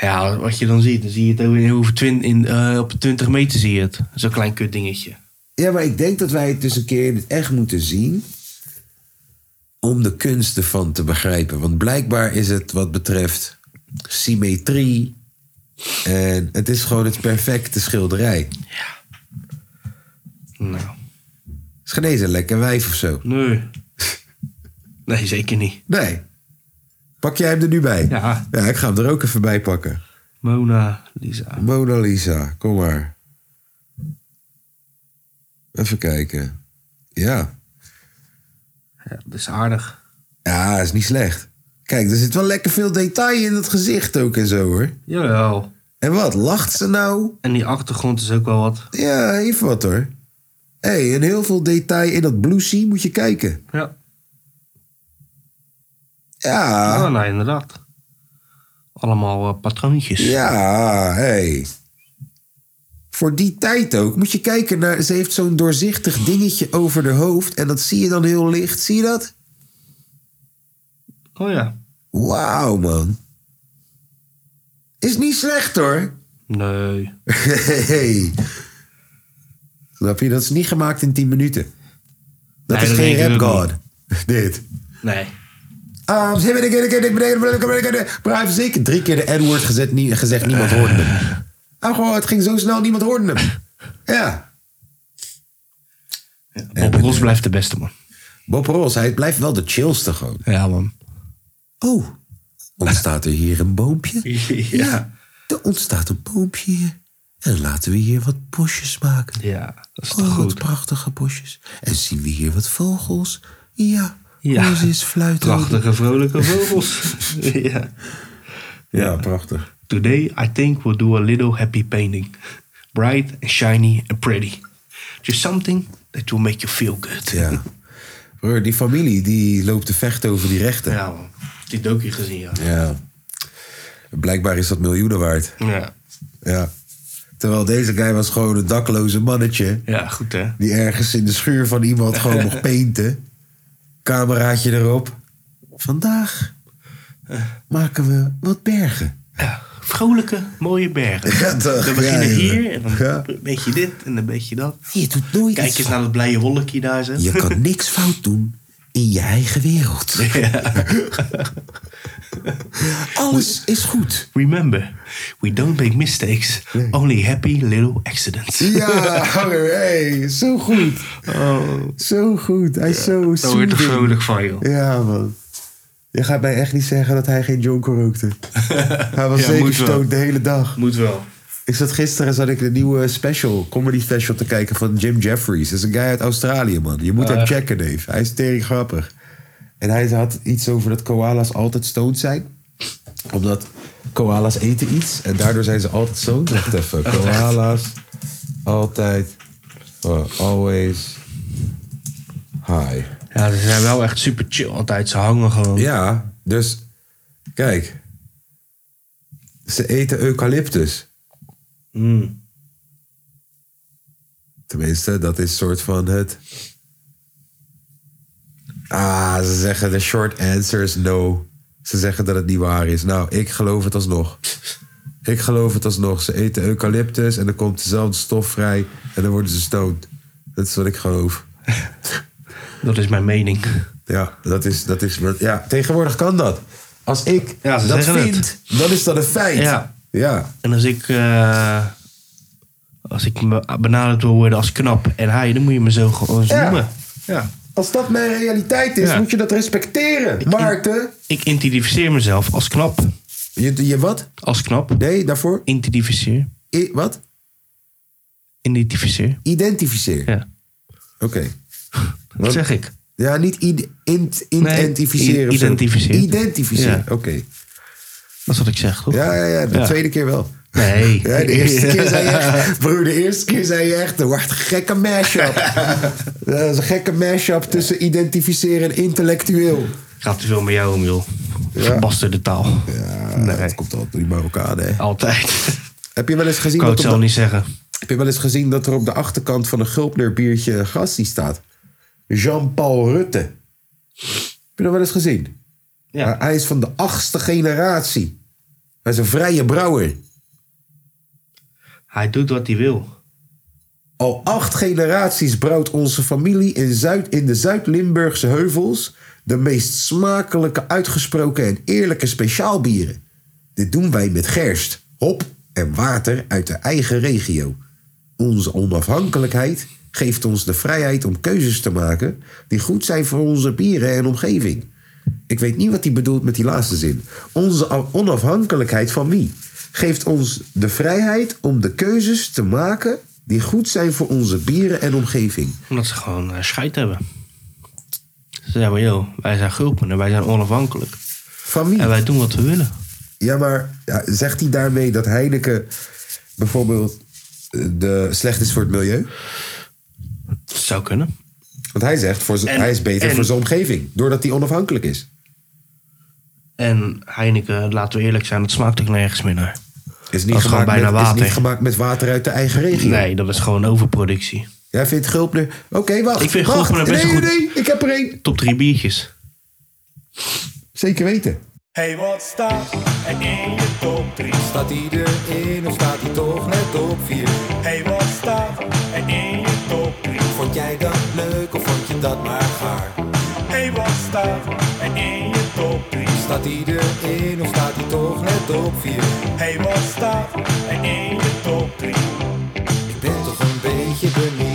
Speaker 2: Ja, wat je dan ziet. Dan zie je het ook in, hoeveel twin, in, eh, op 20 meter zie je het. Zo'n klein kut dingetje.
Speaker 1: Ja, maar ik denk dat wij het dus een keer in het echt moeten zien. Om de kunsten van te begrijpen. Want blijkbaar is het wat betreft symmetrie. En het is gewoon het perfecte schilderij.
Speaker 2: Nou,
Speaker 1: Het is geen eens een lekker wijf of zo.
Speaker 2: nee. Nee, zeker niet.
Speaker 1: Nee. Pak jij hem er nu bij?
Speaker 2: Ja,
Speaker 1: Ja, ik ga hem er ook even bij pakken.
Speaker 2: Mona Lisa.
Speaker 1: Mona Lisa, kom maar. Even kijken. Ja.
Speaker 2: Ja, dat is aardig.
Speaker 1: Ja, is niet slecht. Kijk, er zit wel lekker veel detail in het gezicht ook en zo hoor.
Speaker 2: Jawel.
Speaker 1: En wat, lacht ze nou?
Speaker 2: En die achtergrond is ook wel wat.
Speaker 1: Ja, even wat hoor. Hé, hey, en heel veel detail in dat blousie moet je kijken.
Speaker 2: Ja,
Speaker 1: Ja,
Speaker 2: oh, nee, inderdaad. Allemaal eh, patroontjes.
Speaker 1: ja, hé. Hey. Voor die tijd ook moet je kijken naar... Ze heeft zo'n doorzichtig dingetje over haar hoofd. En dat zie je dan heel licht. Zie je dat?
Speaker 2: Oh ja.
Speaker 1: Wauw, man. Is niet slecht hoor.
Speaker 2: Nee.
Speaker 1: Hey. Snap je? Dat is niet gemaakt in 10 minuten. Dat
Speaker 2: Nee,
Speaker 1: is
Speaker 2: dat
Speaker 1: geen
Speaker 2: denk ik
Speaker 1: rap
Speaker 2: ook
Speaker 1: god. Dit.
Speaker 2: Nee.
Speaker 1: Um, ze hebben een keer- een keer- een keer- een keer- een keer- een keer- een keer- heeft zeker drie keer de N-word gezet, nie- gezegd, niemand hoorde hem. Ah, gewoon, het ging zo snel, niemand hoorde hem. Ja.
Speaker 2: Bob Ross blijft de beste man.
Speaker 1: Bob Ross, hij blijft wel de chillste gewoon.
Speaker 2: Ja, man.
Speaker 1: Oh, ontstaat er hier een boompje?
Speaker 2: Ja.
Speaker 1: Er ontstaat een boompje hier. En laten we hier wat bosjes maken.
Speaker 2: Ja, dat is
Speaker 1: oh, wat prachtige bosjes. En zien we hier wat vogels? Ja, ja. eens fluiten.
Speaker 2: Prachtige, vrolijke vogels. ja.
Speaker 1: Ja, prachtig.
Speaker 2: Today I think we'll do a little happy painting. Bright and shiny and pretty. Just something that will make you feel good.
Speaker 1: Ja. Broer, die familie die loopt te vechten over die rechten.
Speaker 2: Ja, man. Die docu gezien, ja.
Speaker 1: Ja. Blijkbaar is dat miljoenen waard.
Speaker 2: Ja.
Speaker 1: Ja. Terwijl deze guy was gewoon een dakloze mannetje.
Speaker 2: Ja, goed hè.
Speaker 1: Die ergens in de schuur van iemand gewoon nog painten. Cameraatje erop. Vandaag maken we wat bergen.
Speaker 2: Vrolijke, mooie bergen.
Speaker 1: Ja, toch,
Speaker 2: we
Speaker 1: ja,
Speaker 2: beginnen
Speaker 1: joh.
Speaker 2: hier en dan
Speaker 1: Ja.
Speaker 2: een beetje dit en een beetje dat.
Speaker 1: Je doet nooit
Speaker 2: Kijk
Speaker 1: iets
Speaker 2: eens naar dat blije wolkje daar. Zo.
Speaker 1: Je kan niks fout doen in je eigen wereld. Alles is goed.
Speaker 2: Remember, we don't make mistakes, only happy little accidents.
Speaker 1: Ja, hoor, hey, zo goed.
Speaker 2: Oh.
Speaker 1: Zo goed. Hij is zo
Speaker 2: Daar word je
Speaker 1: soothing.
Speaker 2: toch vrolijk van, joh.
Speaker 1: Ja, man. Je gaat mij echt niet zeggen dat hij geen jonker rookte. Hij was
Speaker 2: Ja,
Speaker 1: zeker
Speaker 2: moet wel.
Speaker 1: stoked de hele dag.
Speaker 2: Moet wel.
Speaker 1: Ik zat gisteren zat ik een nieuwe special, comedy special te kijken van Jim Jeffries. Dat is een guy uit Australië, man. Je moet
Speaker 2: Ah,
Speaker 1: hem
Speaker 2: echt?
Speaker 1: checken, Dave. Hij is tering grappig. En hij had iets over dat koala's altijd stoned zijn. Omdat koala's eten iets en daardoor zijn ze altijd stoned. Wacht even. Koala's altijd, uh, always high.
Speaker 2: Ja, ze zijn wel echt super chill altijd. Ze hangen gewoon.
Speaker 1: Ja, dus kijk. Ze eten eucalyptus.
Speaker 2: Mm.
Speaker 1: Tenminste, dat is soort van het. Ah, ze zeggen de short answer is no. Ze zeggen dat het niet waar is. Nou, ik geloof het alsnog. Ik geloof het alsnog. Ze eten eucalyptus en er komt dezelfde stof vrij en dan worden ze stoned. Dat is wat ik geloof.
Speaker 2: Dat is mijn mening.
Speaker 1: Ja, dat is, dat is wat- ja, tegenwoordig kan dat. Als ik
Speaker 2: Ja, ze
Speaker 1: dat
Speaker 2: zeggen het.
Speaker 1: vind, dan is dat een feit.
Speaker 2: Ja.
Speaker 1: ja.
Speaker 2: En als ik, eh, als ik me benaderd wil worden als knap en hij, dan moet je me zo gewoon zo
Speaker 1: Ja.
Speaker 2: noemen. Ja.
Speaker 1: Als dat mijn realiteit is,
Speaker 2: Ja.
Speaker 1: moet je dat respecteren. Maarten.
Speaker 2: Ik identificeer mezelf als knap.
Speaker 1: Je, je wat?
Speaker 2: Als knap.
Speaker 1: Nee, daarvoor?
Speaker 2: Identificeer.
Speaker 1: I- wat?
Speaker 2: Identificeer.
Speaker 1: Identificeer.
Speaker 2: Ja.
Speaker 1: Oké.
Speaker 2: Dat zeg ik.
Speaker 1: Ja, niet id- int- identificeren.
Speaker 2: i-
Speaker 1: of zo.
Speaker 2: identificeer.
Speaker 1: Identificeren.
Speaker 2: Ja.
Speaker 1: Oké.
Speaker 2: Dat is wat ik zeg, toch?
Speaker 1: Ja, ja, ja, de
Speaker 2: Ja.
Speaker 1: tweede keer wel.
Speaker 2: Nee.
Speaker 1: Ja, de eerste keer zei je echt... Broer, de eerste keer zei je echt... Wat een gekke mashup. Dat is een gekke mashup tussen identificeren en intellectueel.
Speaker 2: Gaat te veel met jou om, joh. Verbasterde taal.
Speaker 1: Ja,
Speaker 2: Nee.
Speaker 1: dat komt altijd door die Marokkanen, hè.
Speaker 2: Altijd.
Speaker 1: Heb je wel eens gezien
Speaker 2: Kan
Speaker 1: dat
Speaker 2: het
Speaker 1: op
Speaker 2: zelf
Speaker 1: de-
Speaker 2: niet zeggen.
Speaker 1: Heb je wel eens gezien dat er op de achterkant van een Gulpner biertje een gastie staat? Jean-Paul Rutte. Heb je dat wel eens gezien?
Speaker 2: Ja.
Speaker 1: Hij- Hij is van de achtste generatie. Hij is een vrije brouwer.
Speaker 2: Hij doet wat hij wil.
Speaker 1: Al acht generaties brouwt onze familie in, Zuid, in de Zuid-Limburgse heuvels... de meest smakelijke, uitgesproken en eerlijke speciaalbieren. Dit doen wij met gerst, hop en water uit de eigen regio. Onze onafhankelijkheid geeft ons de vrijheid om keuzes te maken... die goed zijn voor onze bieren en omgeving. Ik weet niet wat hij bedoelt met die laatste zin. Onze a- onafhankelijkheid van wie? Geeft ons de vrijheid om de keuzes te maken die goed zijn voor onze bieren en omgeving.
Speaker 2: Omdat ze gewoon eh, scheid hebben. Ze zeggen, maar, joh, wij zijn gulpen en wij zijn onafhankelijk.
Speaker 1: Van wie?
Speaker 2: En wij doen wat we willen.
Speaker 1: Ja, maar ja, zegt hij daarmee dat Heineken bijvoorbeeld eh, de, slecht is voor het milieu?
Speaker 2: Dat zou kunnen.
Speaker 1: Want hij zegt, voor z-
Speaker 2: En-
Speaker 1: hij is beter
Speaker 2: en-
Speaker 1: voor zijn omgeving, doordat hij onafhankelijk is.
Speaker 2: En Heineken, laten we eerlijk zijn, dat smaakt ook nergens meer naar.
Speaker 1: Is niet,
Speaker 2: Dat is gewoon
Speaker 1: gemaakt
Speaker 2: bijna
Speaker 1: met, is niet
Speaker 2: water.
Speaker 1: gemaakt met water uit de eigen regio.
Speaker 2: Nee, dat is gewoon overproductie.
Speaker 1: Jij vindt Gulpner... Oké, wacht.
Speaker 2: Ik vind
Speaker 1: wacht.
Speaker 2: Gulpner best
Speaker 1: nee,
Speaker 2: een goed-
Speaker 1: Nee, nee, ik heb er één.
Speaker 2: Top drie biertjes.
Speaker 1: Zeker weten.
Speaker 7: Hey, wat staat er in de top 3?
Speaker 8: Staat hij erin of staat hij toch net op 4?
Speaker 7: Hey, wat staat er in je top 3?
Speaker 8: Vond jij dat leuk of vond je dat maar gaar?
Speaker 7: Hey, wat staat er in je top 3?
Speaker 8: Staat hij erin of staat hij toch net op 4?
Speaker 7: Hey, wat staat er in je top 3?
Speaker 8: Ik ben toch een beetje benieuwd.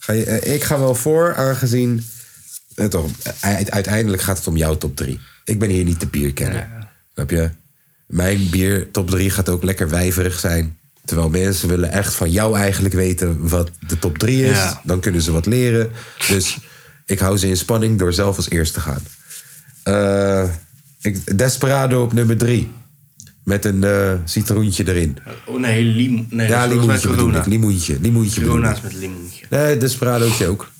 Speaker 1: Ga je, eh, ik ga wel voor, aangezien eh, toch, u- uiteindelijk gaat het om jouw top 3. Ik ben hier niet de bierkenner. Snap je? Mijn bier top 3 gaat ook lekker wijverig zijn. Terwijl mensen willen echt van jou eigenlijk weten wat de top 3 is.
Speaker 2: Ja.
Speaker 1: Dan kunnen ze wat leren. Dus ik hou ze in spanning door zelf als eerst te gaan. Eh, ik, Desperado op nummer 3. Met een eh, citroentje erin.
Speaker 2: Oh nee, limo. Nee,
Speaker 1: ja,
Speaker 2: dat is volgens
Speaker 1: limoentje
Speaker 2: mij
Speaker 1: bedoel
Speaker 2: corona.
Speaker 1: ik. Limoentje. Limoentje bedoel
Speaker 2: Corona is
Speaker 1: ik.
Speaker 2: met limoentje.
Speaker 1: Nee, Desperadootje ook.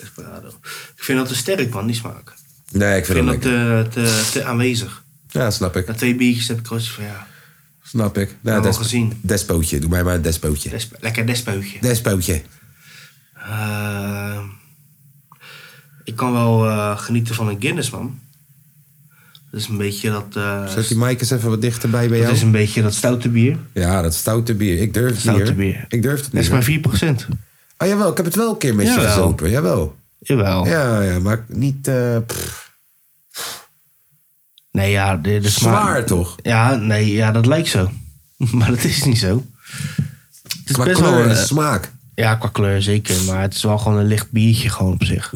Speaker 2: Desperado. Ik vind dat te sterk, man, die smaak.
Speaker 1: Nee, ik
Speaker 2: Ik
Speaker 1: vind
Speaker 2: vind
Speaker 1: hem
Speaker 2: dat
Speaker 1: lekker.
Speaker 2: te, te, te aanwezig.
Speaker 1: Ja, snap ik.
Speaker 2: Na twee biertjes heb ik al zoiets van, ja,
Speaker 1: Snap ik. Nou,
Speaker 2: Wel
Speaker 1: des-
Speaker 2: gezien.
Speaker 1: Despootje. Doe mij maar een despootje.
Speaker 2: desp- lekker despeutje.
Speaker 1: Despootje.
Speaker 2: Eh, ik kan wel eh, genieten van een Guinness, man. Dat is een beetje dat... eh,
Speaker 1: Zet die mic eens even wat dichterbij bij
Speaker 2: dat
Speaker 1: jou.
Speaker 2: is een beetje dat stoute bier.
Speaker 1: Ja, dat stoute bier. Ik durf het
Speaker 2: Stoute
Speaker 1: niet. hoor.
Speaker 2: bier.
Speaker 1: Ik durf het
Speaker 2: Dat
Speaker 1: niet.
Speaker 2: is
Speaker 1: hoor.
Speaker 2: maar 4%.
Speaker 1: Oh jawel, ik heb het wel een keer met je
Speaker 2: Jawel.
Speaker 1: gezopen. Jawel.
Speaker 2: Jawel.
Speaker 1: Ja, ja, maar niet... eh, pff.
Speaker 2: Nee, ja, de, de smaak-
Speaker 1: Zwaar, toch?
Speaker 2: Ja, nee, ja, dat lijkt zo. maar dat is niet zo. Het is
Speaker 1: Qua
Speaker 2: best
Speaker 1: kleur
Speaker 2: wel...
Speaker 1: en
Speaker 2: eh,
Speaker 1: smaak.
Speaker 2: ja, qua kleur zeker. Maar het is wel gewoon een licht biertje gewoon op zich.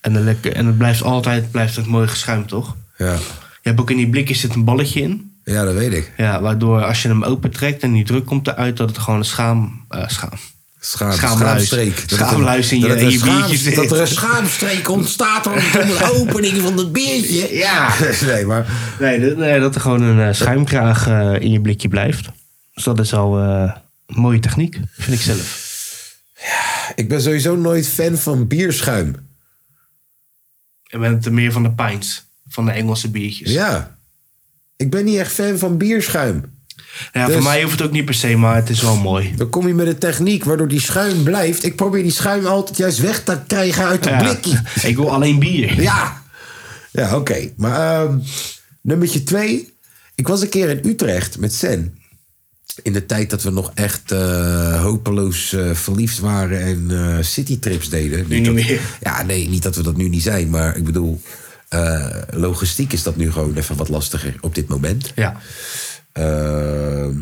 Speaker 2: En, een lekker, en het blijft altijd blijft het mooi geschuimd, toch?
Speaker 1: Ja.
Speaker 2: Je hebt ook in die blikjes zit een balletje in.
Speaker 1: ja, dat weet ik.
Speaker 2: Ja, waardoor als je hem opentrekt en die druk komt eruit... dat het gewoon een schaam... eh, schaam.
Speaker 1: Schaam,
Speaker 2: Schaamluis.
Speaker 1: schaamstreek. Dat het een-
Speaker 2: Schaamluis in je-
Speaker 1: dat het
Speaker 2: in
Speaker 1: een
Speaker 2: je biertje
Speaker 1: schaam-
Speaker 2: zit.
Speaker 1: Dat er een schaamstreek ontstaat rondom de opening van het biertje.
Speaker 2: Ja.
Speaker 1: Nee, maar...
Speaker 2: Nee, dat, nee, dat er gewoon een eh, schuimkraag eh, in je blikje blijft. Dus dat is al eh, een mooie techniek, vind ik zelf.
Speaker 1: Ik ben sowieso nooit fan van bierschuim.
Speaker 2: En bent er meer van de pints, van de Engelse biertjes. Ja,
Speaker 1: Ja. Ik ben niet echt fan van bierschuim.
Speaker 2: Nou Voor
Speaker 1: dus-
Speaker 2: mij hoeft het ook niet per se, maar het is wel mooi.
Speaker 1: Dan kom je met een techniek waardoor die schuim blijft. Ik probeer die schuim altijd juist weg te krijgen uit het
Speaker 2: Ja.
Speaker 1: blikje.
Speaker 2: Ik wil alleen bier.
Speaker 1: Ja. Ja, oké. Maar ehm nummertje twee. Ik was een keer in Utrecht met Sen. In de tijd dat we nog echt eh, hopeloos eh, verliefd waren en eh, citytrips deden.
Speaker 2: Nu niet
Speaker 1: dat-
Speaker 2: meer.
Speaker 1: Ja, nee, niet dat we dat nu niet zijn. Maar ik bedoel, eh, logistiek is dat nu gewoon even wat lastiger op dit moment.
Speaker 2: Ja,
Speaker 1: Ehm,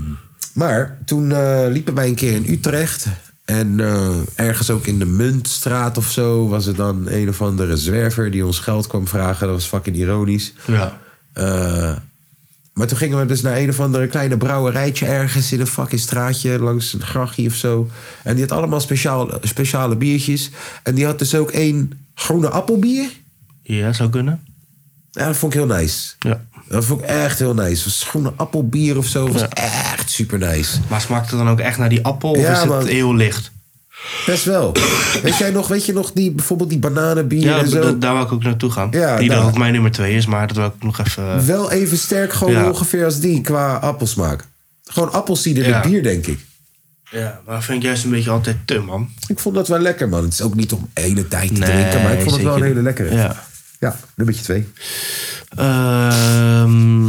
Speaker 1: maar toen eh, liepen wij een keer in Utrecht. En eh, ergens ook in de Muntstraat of zo was er dan een of andere zwerver die ons geld kwam vragen. Dat was fucking ironisch.
Speaker 2: ja.
Speaker 1: Eh, maar toen gingen we dus naar een of andere kleine brouwerijtje ergens in een fucking straatje langs een grachtje of zo. En die had allemaal speciaal, speciale biertjes. En die had dus ook één groene appelbier.
Speaker 2: Ja, zou kunnen.
Speaker 1: Ja, dat vond ik heel nice.
Speaker 2: Ja.
Speaker 1: Dat vond ik echt heel nice. Was groene appelbier of zo. Was
Speaker 2: Ja.
Speaker 1: echt super nice.
Speaker 2: Maar smaakt het dan ook echt naar die appel
Speaker 1: Ja,
Speaker 2: of is
Speaker 1: man.
Speaker 2: het heel licht?
Speaker 1: Best wel. weet jij nog, weet je nog die, bijvoorbeeld die bananenbier
Speaker 2: Ja,
Speaker 1: en zo?
Speaker 2: dat- daar wil ik ook naartoe gaan.
Speaker 1: dus Ja,
Speaker 2: die
Speaker 1: daar.
Speaker 2: dat ook mijn nummer twee is, maar dat wil ik nog even...
Speaker 1: Wel even sterk gewoon
Speaker 2: Ja.
Speaker 1: ongeveer als die qua appelsmaak. Gewoon appelsieder
Speaker 2: Ja.
Speaker 1: met bier, denk ik.
Speaker 2: Ja, maar dat vind ik juist een beetje altijd te, man.
Speaker 1: Ik vond dat wel lekker, man. Het is ook niet om ene tijd te drinken, maar ik vond het wel een
Speaker 2: zeker
Speaker 1: hele
Speaker 2: niet.
Speaker 1: lekkere.
Speaker 2: Ja.
Speaker 1: ja nummertje twee.
Speaker 2: Ehm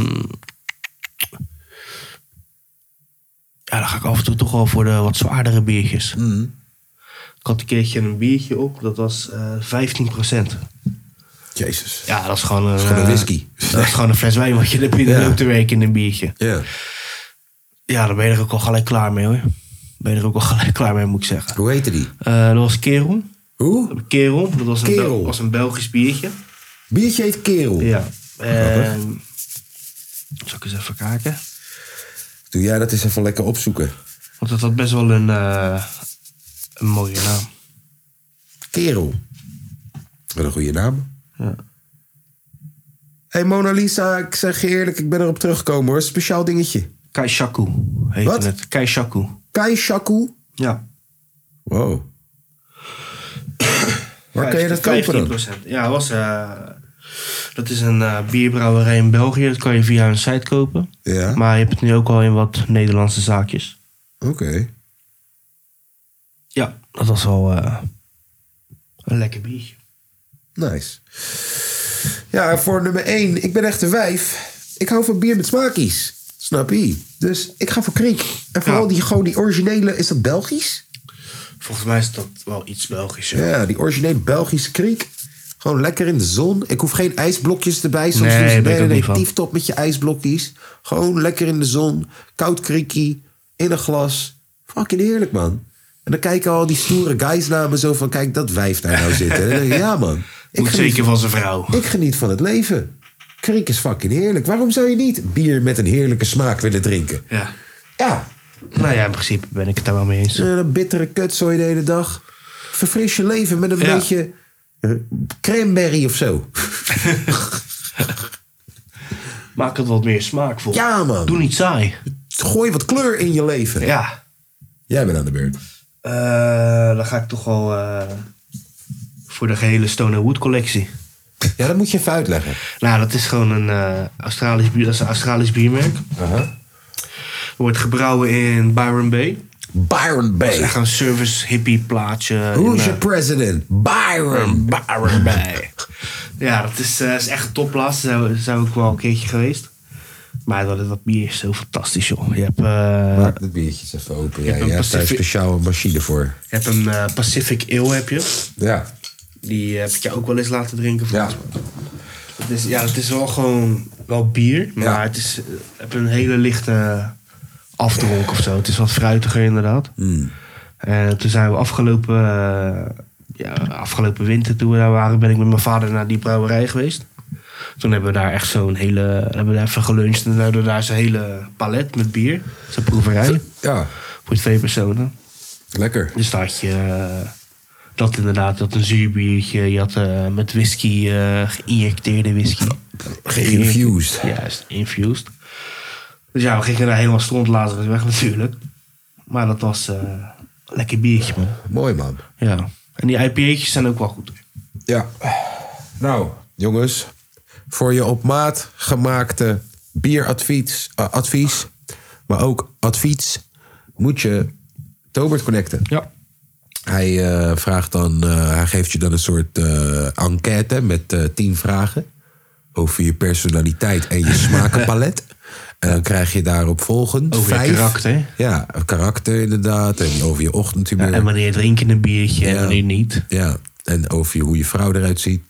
Speaker 2: ja, dan ga ik af en toe toch wel voor de wat zwaardere biertjes. Mhm. Ik had een keertje een biertje op, dat was eh 15%.
Speaker 1: Jezus.
Speaker 2: Ja, dat is gewoon een,
Speaker 1: gewoon een
Speaker 2: eh,
Speaker 1: whisky.
Speaker 2: dat is gewoon een fles wijn wat je er binnen
Speaker 1: Ja.
Speaker 2: loopt te werken in een biertje.
Speaker 1: Ja.
Speaker 2: Ja, dan ben je er ook al gelijk klaar mee hoor. Ben je er ook al gelijk klaar mee, moet ik zeggen.
Speaker 1: Hoe heette die?
Speaker 2: Eh, dat was Kerel.
Speaker 1: Hoe?
Speaker 2: Kerel, dat was een,
Speaker 1: Kerel.
Speaker 2: Bel- was een Belgisch biertje.
Speaker 1: Biertje heet Kerel.
Speaker 2: Ja. En, zal ik eens even kijken?
Speaker 1: Doe jij dat eens even lekker opzoeken.
Speaker 2: Want dat had best wel een, eh, een mooie naam.
Speaker 1: Kerel. Wat een goede naam.
Speaker 2: Ja.
Speaker 1: hey Mona Lisa, ik zeg je eerlijk, ik ben erop teruggekomen hoor. Speciaal dingetje.
Speaker 2: Kaishaku heette
Speaker 1: Wat?
Speaker 2: het. Kaishaku.
Speaker 1: Kai Shaku.
Speaker 2: Ja.
Speaker 1: Wow. Waar kan je dat kopen dan?
Speaker 2: 15%. Ja, was, eh, dat is een eh, bierbrouwerij in België. Dat kan je via een site kopen.
Speaker 1: Ja.
Speaker 2: Maar je hebt het nu ook al in wat Nederlandse zaakjes.
Speaker 1: Oké.
Speaker 2: Ja, dat was wel eh, een lekker biertje.
Speaker 1: Nice. Ja, en voor nummer 1. Ik ben echt een wijf. Ik hou van bier met smaakies. Snap je? Dus ik ga voor Kriek. En vooral
Speaker 2: Ja.
Speaker 1: die, gewoon die originele... Is dat Belgisch?
Speaker 2: Volgens mij is dat wel iets Belgisch. ja.
Speaker 1: Ja, die originele Belgische Kriek. Gewoon lekker in de zon. Ik hoef geen ijsblokjes erbij. Soms
Speaker 2: Nee,
Speaker 1: doen ze
Speaker 2: ben ik
Speaker 1: bij
Speaker 2: ook niet
Speaker 1: een
Speaker 2: van.
Speaker 1: tieftop met je ijsblokjes. Gewoon lekker in de zon. Koud kriekie. In een glas. Fucking heerlijk, man. En dan kijken al die stoere guys naar me zo van... kijk, dat wijf daar nou zitten. En dan denk ik, ja man. Ik
Speaker 2: Moet
Speaker 1: geniet-
Speaker 2: zeker van zijn vrouw.
Speaker 1: Ik geniet van het leven. Kriek is fucking heerlijk. Waarom zou je niet bier met een heerlijke smaak willen drinken?
Speaker 2: Ja.
Speaker 1: Ja.
Speaker 2: Nou ja, in principe ben ik het daar wel mee eens.
Speaker 1: Een bittere kutzooi de hele dag. Verfris je leven met een
Speaker 2: Ja.
Speaker 1: beetje eh, cranberry of zo.
Speaker 2: Maak het wat meer smaakvol.
Speaker 1: Ja, man.
Speaker 2: Doe niet saai.
Speaker 1: Gooi wat kleur in je leven.
Speaker 2: Ja.
Speaker 1: Jij bent aan de beurt.
Speaker 2: Eh, dan ga ik toch wel eh, voor de gehele Stone Wood collectie.
Speaker 1: Ja, dat moet je even uitleggen.
Speaker 2: Nou, dat is gewoon een eh, Australisch bier. Dat is een Australisch biermerk. Wordt gebrouwen in Byron Bay.
Speaker 1: Byron Bay.
Speaker 2: Dat is echt een service hippie plaatje.
Speaker 1: Who's
Speaker 2: In, eh,
Speaker 1: your president? Byron.
Speaker 2: Byron Bay. ja, dat is, eh, is echt een topplaats. Daar zijn we- zijn we ook wel een keertje geweest. Maar dat, dat bier is zo fantastisch, joh. Je hebt, eh,
Speaker 1: Maak de biertjes even open. Ja,
Speaker 2: hebt een
Speaker 1: je hebt daar een
Speaker 2: Pacific-
Speaker 1: speciale machine voor.
Speaker 2: je hebt een eh, Pacific Ale, heb je.
Speaker 1: Ja.
Speaker 2: Die heb ik je ook wel eens laten drinken.
Speaker 1: Ja.
Speaker 2: Het is, ja, het is wel gewoon wel bier, maar
Speaker 1: Ja.
Speaker 2: het is eh, heb een hele lichte afdronk of zo. Het is wat fruitiger inderdaad. En toen zijn we afgelopen, eh, ja, afgelopen winter, toen we daar waren, ben ik met mijn vader naar die brouwerij geweest. Toen hebben we daar echt zo'n hele, hebben we daar even geluncht en toen hadden we daar zo'n hele palet met bier. Zo'n proeverij
Speaker 1: Ja,
Speaker 2: voor twee personen.
Speaker 1: lekker.
Speaker 2: Dus daar had je eh, dat inderdaad, dat een zuur biertje. Je had eh, met whisky, eh geïnjecteerde whisky.
Speaker 1: Geïnfused.
Speaker 2: Juist, infused. Dus ja, we gingen daar helemaal strontlazerend weg natuurlijk. Maar dat was eh, een lekker biertje, man.
Speaker 1: Mooi man.
Speaker 2: Ja. En die IPA'tjes zijn ook wel goed.
Speaker 1: Ja. Nou, jongens. Voor je op maat gemaakte bieradvies, eh, advies, maar ook advies, moet je Tobert connecten.
Speaker 2: Ja.
Speaker 1: Hij eh, vraagt dan, eh, hij geeft je dan een soort eh, enquête met eh, tien vragen over je personaliteit en je smakenpalet. En dan krijg je daarop volgend
Speaker 2: Over je
Speaker 1: vijf-
Speaker 2: karakter.
Speaker 1: Ja, karakter inderdaad. En over je ochtendhumeur.
Speaker 2: En wanneer drink je een biertje en
Speaker 1: Ja.
Speaker 2: wanneer niet.
Speaker 1: Ja, en over je, hoe je vrouw eruit ziet.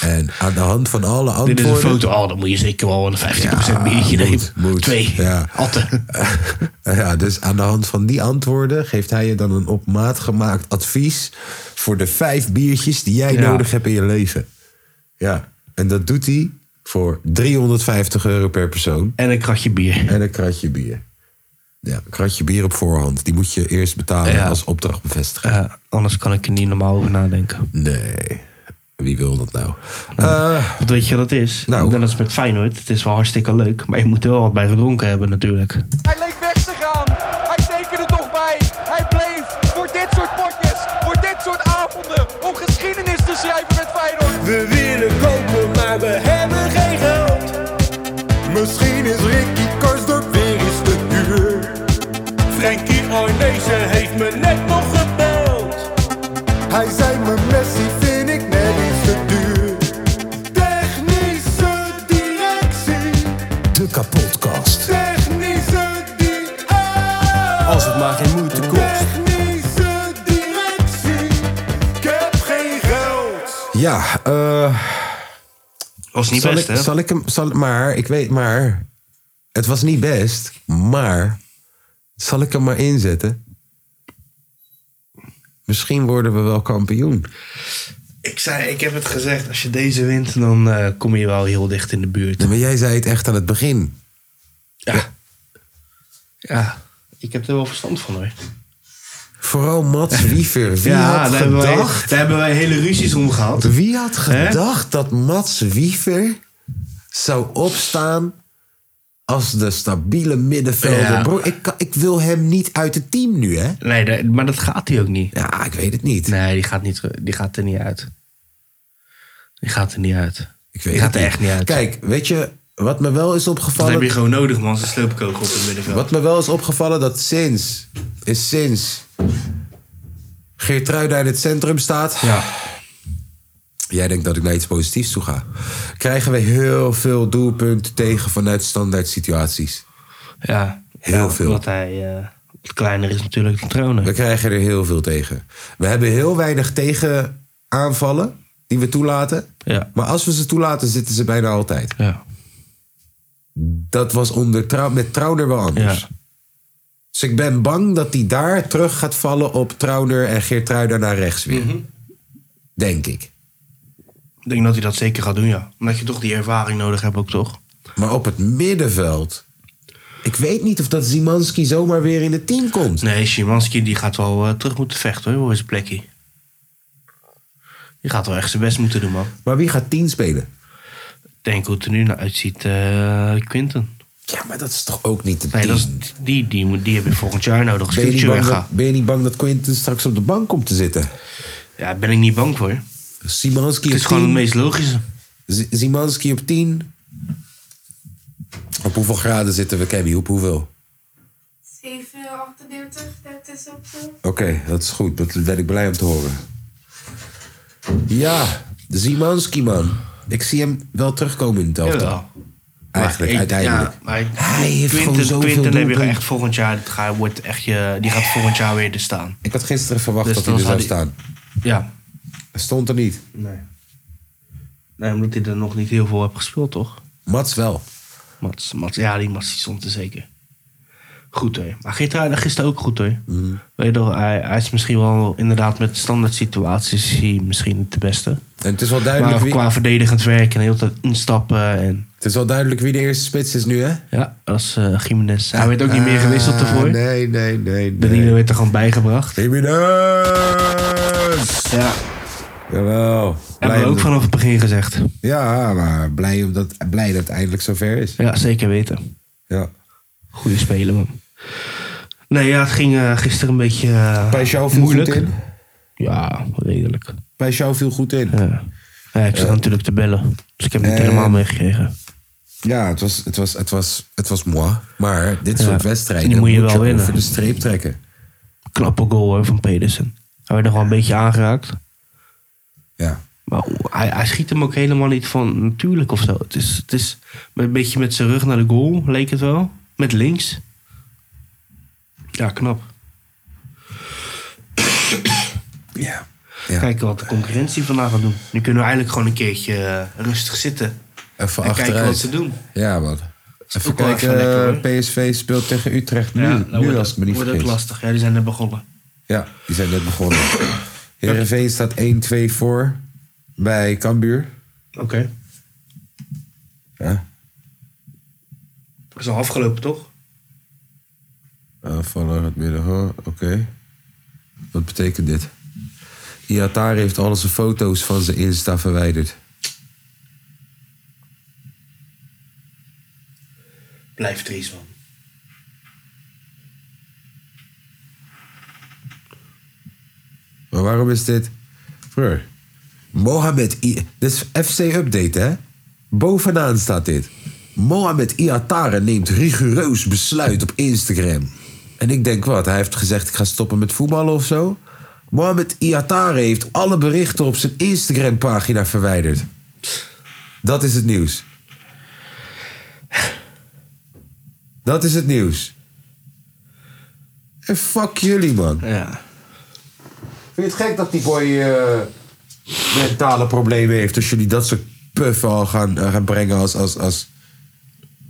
Speaker 1: En aan de hand van alle
Speaker 2: Dit is
Speaker 1: antwoorden...
Speaker 2: een foto. Oh, dan moet je zeker wel een 50% biertje
Speaker 1: moet,
Speaker 2: nemen.
Speaker 1: moet.
Speaker 2: Twee.
Speaker 1: Ja.
Speaker 2: Atten.
Speaker 1: Ja, dus aan de hand van die antwoorden geeft hij je dan een op maat gemaakt advies... voor de vijf biertjes die jij
Speaker 2: Ja.
Speaker 1: nodig hebt in je leven. Ja, en dat doet hij voor 350 euro per persoon.
Speaker 2: En een kratje bier.
Speaker 1: En een kratje bier. Ja, een kratje bier op voorhand. Die moet je eerst betalen
Speaker 2: Ja.
Speaker 1: als opdracht bevestigen.
Speaker 2: Ja, anders kan ik er niet normaal over nadenken.
Speaker 1: Nee, wie wil dat nou? Eh,
Speaker 2: Want weet je wat het is?
Speaker 1: Nou.
Speaker 2: Net als met Feyenoord. Het is wel hartstikke leuk. Maar je moet er wel wat bij gedronken hebben natuurlijk.
Speaker 9: Hij leek weg te gaan. Hij tekende toch bij. Hij bleef voor dit soort potjes, voor dit soort avonden, om geschiedenis te schrijven met Feyenoord.
Speaker 8: We willen kopen, maar we hebben geen geld. Misschien is Ricky Karsdorp weer eens te duur. Frankie Arnezen heeft me net nog gebeld. Hij zei me Messi vind ik net iets te duur. Technische directie,
Speaker 1: de kapotkast.
Speaker 8: technische directie.
Speaker 7: Oh,
Speaker 10: Als het maar geen moeite kost.
Speaker 8: Technische directie, ik heb geen geld.
Speaker 1: Ja, eh...
Speaker 2: Was niet
Speaker 1: zal
Speaker 2: best,
Speaker 1: ik,
Speaker 2: hè?
Speaker 1: Zal ik hem, zal, maar, ik weet, maar. Het was niet best, maar. Zal ik hem maar inzetten? Misschien worden we wel kampioen.
Speaker 2: Ik, zei, ik heb het gezegd. Als je deze wint, dan eh, kom je wel heel dicht in de buurt.
Speaker 1: Maar jij zei het echt aan het begin.
Speaker 2: Ja. Ik heb er wel verstand van, hoor.
Speaker 1: Vooral Mats Wiever. Wie had
Speaker 2: hebben wij,
Speaker 1: gedacht?
Speaker 2: daar hebben wij hele ruzies om gehad.
Speaker 1: Wie had
Speaker 2: Hè?
Speaker 1: gedacht dat Mats Wiever zou opstaan als de stabiele middenvelder?
Speaker 2: Ja.
Speaker 1: Bro, ik, kan- ik wil hem niet uit het team nu, hè?
Speaker 2: Nee, daar- maar dat gaat hij ook niet.
Speaker 1: Ja, ik weet het niet.
Speaker 2: Nee, die gaat, niet, teru- die gaat er niet uit. Die gaat er niet uit.
Speaker 1: Ik weet
Speaker 2: die
Speaker 1: het
Speaker 2: gaat er echt niet uit.
Speaker 1: Kijk, weet je, wat me wel is
Speaker 2: dat heb
Speaker 1: opgevallen...
Speaker 2: je gewoon nodig, man. Zijn sloopkogel op het middenveld.
Speaker 1: Wat me wel is opgevallen, dat sinds... is sinds... Geertruida in het centrum staat...
Speaker 2: Ja.
Speaker 1: Jij denkt dat ik naar iets positiefs toe ga. Krijgen we heel veel doelpunten tegen vanuit standaard situaties.
Speaker 2: ja.
Speaker 1: Heel
Speaker 2: Ja,
Speaker 1: veel.
Speaker 2: Omdat hij eh, wat kleiner is natuurlijk dan
Speaker 1: We
Speaker 2: Trouwner.
Speaker 1: krijgen er heel veel tegen. We hebben heel weinig tegenaanvallen die we toelaten.
Speaker 2: Ja.
Speaker 1: Maar als we ze toelaten, zitten ze bijna altijd.
Speaker 2: Ja.
Speaker 1: Dat was onder Trau- met Trouwner wel anders.
Speaker 2: Ja.
Speaker 1: Dus ik ben bang dat hij daar terug gaat vallen op Trauner en Geertruida naar rechts weer. Denk ik.
Speaker 2: Ik denk dat hij dat zeker gaat doen, ja. Omdat je toch die ervaring nodig hebt ook, toch?
Speaker 1: Maar op het middenveld. Ik weet niet of dat Zimanski zomaar weer in het team komt.
Speaker 2: Nee, Szymanski die gaat wel eh, terug moeten vechten hoor, voor zijn plekje. Die gaat wel echt zijn best moeten doen, man.
Speaker 1: Maar wie gaat 10 spelen?
Speaker 2: Ik denk hoe het er nu naar uitziet, eh Quinten.
Speaker 1: Ja, maar dat is toch ook niet de
Speaker 2: Nee, dat is, die, die, moet- die heb je volgend jaar nodig. Als
Speaker 1: Ben je, niet
Speaker 2: Future
Speaker 1: bang
Speaker 2: weggaat.
Speaker 1: dat, ben je niet bang dat Quinten straks op de bank komt te zitten?
Speaker 2: Ja, ben ik niet bang voor.
Speaker 1: Simanski
Speaker 2: Het is gewoon het meest logische.
Speaker 1: Simanski op 10. Op hoeveel graden zitten we, Kemi? Op hoeveel?
Speaker 11: 7, 38, dat is op zo.
Speaker 1: Oké, dat is goed. Dat ben ik blij om te horen. Ja, Zimanski, man. Ik zie hem wel terugkomen in het elftal.
Speaker 2: Jawel.
Speaker 1: Eigenlijk,
Speaker 2: Maar ik-
Speaker 1: uiteindelijk.
Speaker 2: Ja, maar
Speaker 1: Hij heeft
Speaker 2: Quinten,
Speaker 1: gewoon zoveel
Speaker 2: Quinten heb je
Speaker 1: doelpunten.
Speaker 2: echt volgend jaar. dat ga- wordt echt je, die gaat volgend jaar weer er staan.
Speaker 1: Ik had gisteren verwacht
Speaker 2: Dus
Speaker 1: dat hij
Speaker 2: dan
Speaker 1: er zou
Speaker 2: zou
Speaker 1: staan.
Speaker 2: Ja.
Speaker 1: Stond er niet.
Speaker 2: Nee. Nee, omdat hij er nog niet heel veel heeft gespeeld, toch?
Speaker 1: Mats wel.
Speaker 2: Mats, Mats ja, die Mats die stond er zeker. Goed hoor. Maar Geertruiden gisteren ook goed hoor.
Speaker 1: Mhm.
Speaker 2: Weet je wel, hij, hij is misschien wel inderdaad met standaard situaties is hij misschien niet de beste.
Speaker 1: En het is wel duidelijk
Speaker 2: maar
Speaker 1: wie-
Speaker 2: qua verdedigend werk en heel tijd instappen. En...
Speaker 1: Het is wel duidelijk wie de eerste spits is nu, hè? Ah,
Speaker 2: Ja, dat is eh Gimenez. Hij werd ook niet meer gewisseld ervoor.
Speaker 1: Nee, nee, nee.
Speaker 2: Danilo werd er gewoon bijgebracht.
Speaker 1: Jiménez!
Speaker 2: Ja.
Speaker 1: Jawel.
Speaker 2: Hebben we ook vanaf het begin gezegd.
Speaker 1: Ja, maar blij, omdat, blij dat het eindelijk zover is.
Speaker 2: Ja, zeker weten.
Speaker 1: Ja.
Speaker 2: Goede spelen, man. Nee, ja, het ging eh, gisteren een beetje eh,
Speaker 1: Bij jou viel
Speaker 2: moeilijk.
Speaker 1: goed in?
Speaker 2: Ja, redelijk.
Speaker 1: Bij jou viel goed in.
Speaker 2: Ja. Ja, ik zat natuurlijk te bellen. Dus ik heb het niet
Speaker 1: Eh,
Speaker 2: helemaal meegekregen.
Speaker 1: Ja, het was, het was, het was, het was moi. Maar dit
Speaker 2: Ja. Dus
Speaker 1: soort wedstrijden
Speaker 2: Die moet je wel winnen.
Speaker 1: over de streep trekken.
Speaker 2: Knappe goal hoor, van Pedersen. Hij werd nog wel een beetje aangeraakt.
Speaker 1: Ja.
Speaker 2: Maar oeh, hij, hij schiet hem ook helemaal niet van natuurlijk of zo. Het is, het is een beetje met zijn rug naar de goal, leek het wel. Met links. Ja, knap.
Speaker 1: Ja.
Speaker 2: Kijken wat de concurrentie vandaag gaat doen. Nu kunnen we eigenlijk gewoon een keertje eh, rustig zitten.
Speaker 1: Even
Speaker 2: en kijken
Speaker 1: achteruit.
Speaker 2: wat ze doen.
Speaker 1: Ja, man. Even
Speaker 2: ook wel
Speaker 1: kijken,
Speaker 2: echt wel lekker,
Speaker 1: eh, PSV speelt tegen Utrecht nu,
Speaker 2: Ja, dat
Speaker 1: nu
Speaker 2: wordt-
Speaker 1: als ik me niet
Speaker 2: wordt ook
Speaker 1: vergis.
Speaker 2: lastig. Ja, die zijn net begonnen.
Speaker 1: Ja, die zijn net begonnen. Heerenveen staat 1-2 voor bij Cambuur.
Speaker 2: Oké.
Speaker 1: Ja.
Speaker 2: Dat is al afgelopen, toch?
Speaker 1: Vallen het midden, hoor. Oké. Wat betekent dit? Iatar heeft al zijn foto's van zijn Insta verwijderd.
Speaker 2: Blijf triest, man.
Speaker 1: Maar waarom is dit? Broer. Mohamed I. Dit is FC-update, hè? Bovenaan staat dit. Mohamed Iatare neemt rigoureus besluit op Instagram. En ik denk wat? Hij heeft gezegd: ik ga stoppen met voetballen of zo. Mohamed Iatare heeft alle berichten op zijn Instagram-pagina verwijderd. Dat is het nieuws. Dat is het nieuws. En fuck jullie, man.
Speaker 2: Ja.
Speaker 1: Vind je het gek dat die boy eh, mentale problemen heeft? Als jullie dat soort puffen al gaan, eh, gaan brengen als, als, als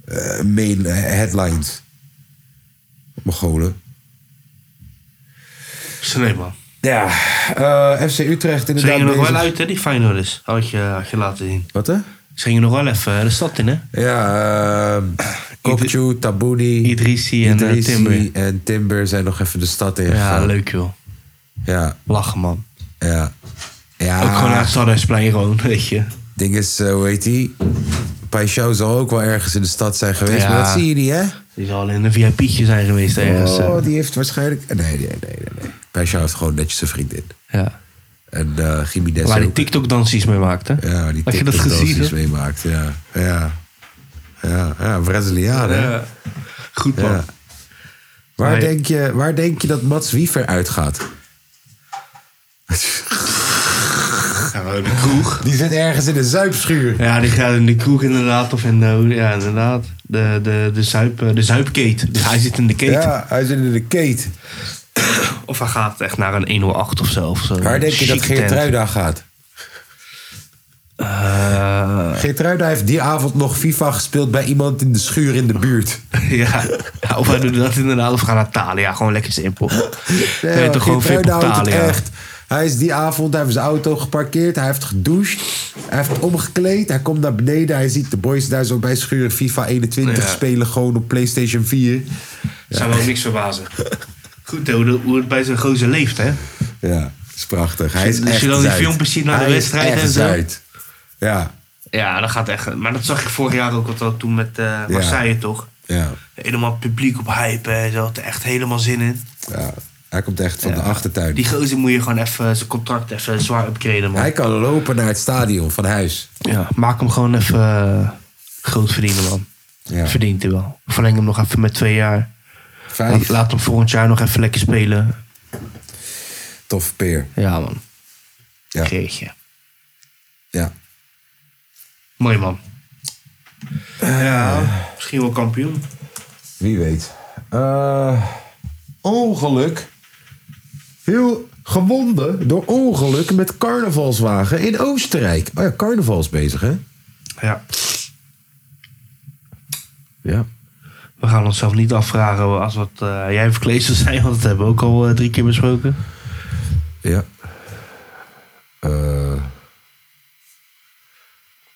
Speaker 1: eh, main eh, headlines. Mongolen.
Speaker 2: Slim, man.
Speaker 1: Ja, eh, FC Utrecht
Speaker 2: Ze
Speaker 1: inderdaad
Speaker 2: gingen nog
Speaker 1: bezig.
Speaker 2: wel uit, hè, die Feyenoorders. Had je, had je laten zien.
Speaker 1: Wat, hè?
Speaker 2: Ze gingen nog wel even eh, de stad in, hè?
Speaker 1: Ja, uh, Kokju, Tabuni,
Speaker 2: Idrissi en, eh,
Speaker 1: Idrissi
Speaker 2: Timber.
Speaker 1: en Timber zijn nog even de stad in.
Speaker 2: Ja, leuk, joh.
Speaker 1: Ja.
Speaker 2: Lachen, man.
Speaker 1: Ja. ja.
Speaker 2: Ook gewoon naar het Stadhuisplein gewoon, weet je.
Speaker 1: Ding is, eh, hoe heet die? Paixão zal ook wel ergens in de stad zijn geweest, maar dat zie je niet, hè?
Speaker 2: Die zal in een VIP'tje zijn geweest ergens.
Speaker 1: Oh,
Speaker 2: eh.
Speaker 1: die heeft waarschijnlijk... Nee, nee, nee, nee. nee. Pesha heeft gewoon netjes een vriendin.
Speaker 2: Ja.
Speaker 1: En eh Jiménez
Speaker 2: Waar die
Speaker 1: ook.
Speaker 2: TikTok-dansies mee maakt, hè?
Speaker 1: Ja, die
Speaker 2: Had je dat
Speaker 1: TikTok-dansies
Speaker 2: gezien, hè?
Speaker 1: meemaakt. Ja, ja. Ja, ja Braziliaan, hè?
Speaker 2: Ja. Eh, Goed, man.
Speaker 1: Ja. Waar,
Speaker 2: Nee.
Speaker 1: denk je, waar denk je dat Mats Wiever uitgaat?
Speaker 2: Gewoon de kroeg.
Speaker 1: Die zit ergens in de zuipschuur.
Speaker 2: Ja, die gaat in de kroeg inderdaad. Of in de, ja, inderdaad. De, de, de, zuip, de zuipketen. Dus hij zit in de keten.
Speaker 1: Ja, hij zit in de keten.
Speaker 2: Of hij gaat echt naar een 108 of zo. Of zo.
Speaker 1: Waar denk je dat
Speaker 2: Chique tent.
Speaker 1: Geertruida gaat?
Speaker 2: Eh,
Speaker 1: Geertruida heeft die avond nog FIFA gespeeld bij iemand in de schuur in de buurt.
Speaker 2: ja, ja, of wij doen dat inderdaad, of we gaan naar Thalia. Gewoon lekker simpel.
Speaker 1: Nee,
Speaker 2: Weet toch gewoon
Speaker 1: Geertruida
Speaker 2: VIP op
Speaker 1: houdt het
Speaker 2: Thalia.
Speaker 1: echt. Hij is die avond, hij heeft zijn auto geparkeerd, hij heeft gedoucht, hij heeft omgekleed, hij komt naar beneden, hij ziet de boys daar zo bij schuren FIFA 21
Speaker 2: Ja.
Speaker 1: spelen gewoon op PlayStation 4.
Speaker 2: Zou me ook niks verbazen. Goed, hè, hoe, de- hoe het bij zo'n gozer leeft, hè?
Speaker 1: Ja, is prachtig. Hij is
Speaker 2: Als je
Speaker 1: echt
Speaker 2: dan die
Speaker 1: Zuid.
Speaker 2: filmpjes ziet na de
Speaker 1: Hij is
Speaker 2: wedstrijd
Speaker 1: echt
Speaker 2: en zo.
Speaker 1: Zuid. Ja,
Speaker 2: Ja, dat gaat echt. Maar dat zag ik vorig jaar ook al toen met eh Marseille, toch?
Speaker 1: ja.
Speaker 2: Helemaal publiek op hype en zo. Had er echt helemaal zin in.
Speaker 1: Ja, hij komt echt van de achtertuin.
Speaker 2: Die gozer moet je gewoon even zijn contract even zwaar upgraden, man.
Speaker 1: Hij kan lopen naar het stadion van huis.
Speaker 2: Ja, maak hem gewoon even eh, groot verdienen, man.
Speaker 1: Ja.
Speaker 2: Verdient hij wel. Verleng hem nog even met twee jaar. Laat, laat hem volgend jaar nog even lekker spelen.
Speaker 1: Tof peer.
Speaker 2: Ja, man.
Speaker 1: Ja.
Speaker 2: Geertje.
Speaker 1: Ja.
Speaker 2: Mooi, man. Eh, ja,
Speaker 1: Eh.
Speaker 2: misschien wel kampioen.
Speaker 1: Wie weet. Eh, ongeluk. Heel gewonden door ongeluk met carnavalswagen in Oostenrijk. Oh ja, carnaval is bezig, hè?
Speaker 2: Ja.
Speaker 1: Ja.
Speaker 2: We gaan onszelf niet afvragen als wat eh, jij verkleed zou zijn, want dat hebben we ook al eh, drie keer besproken.
Speaker 1: Ja. Eh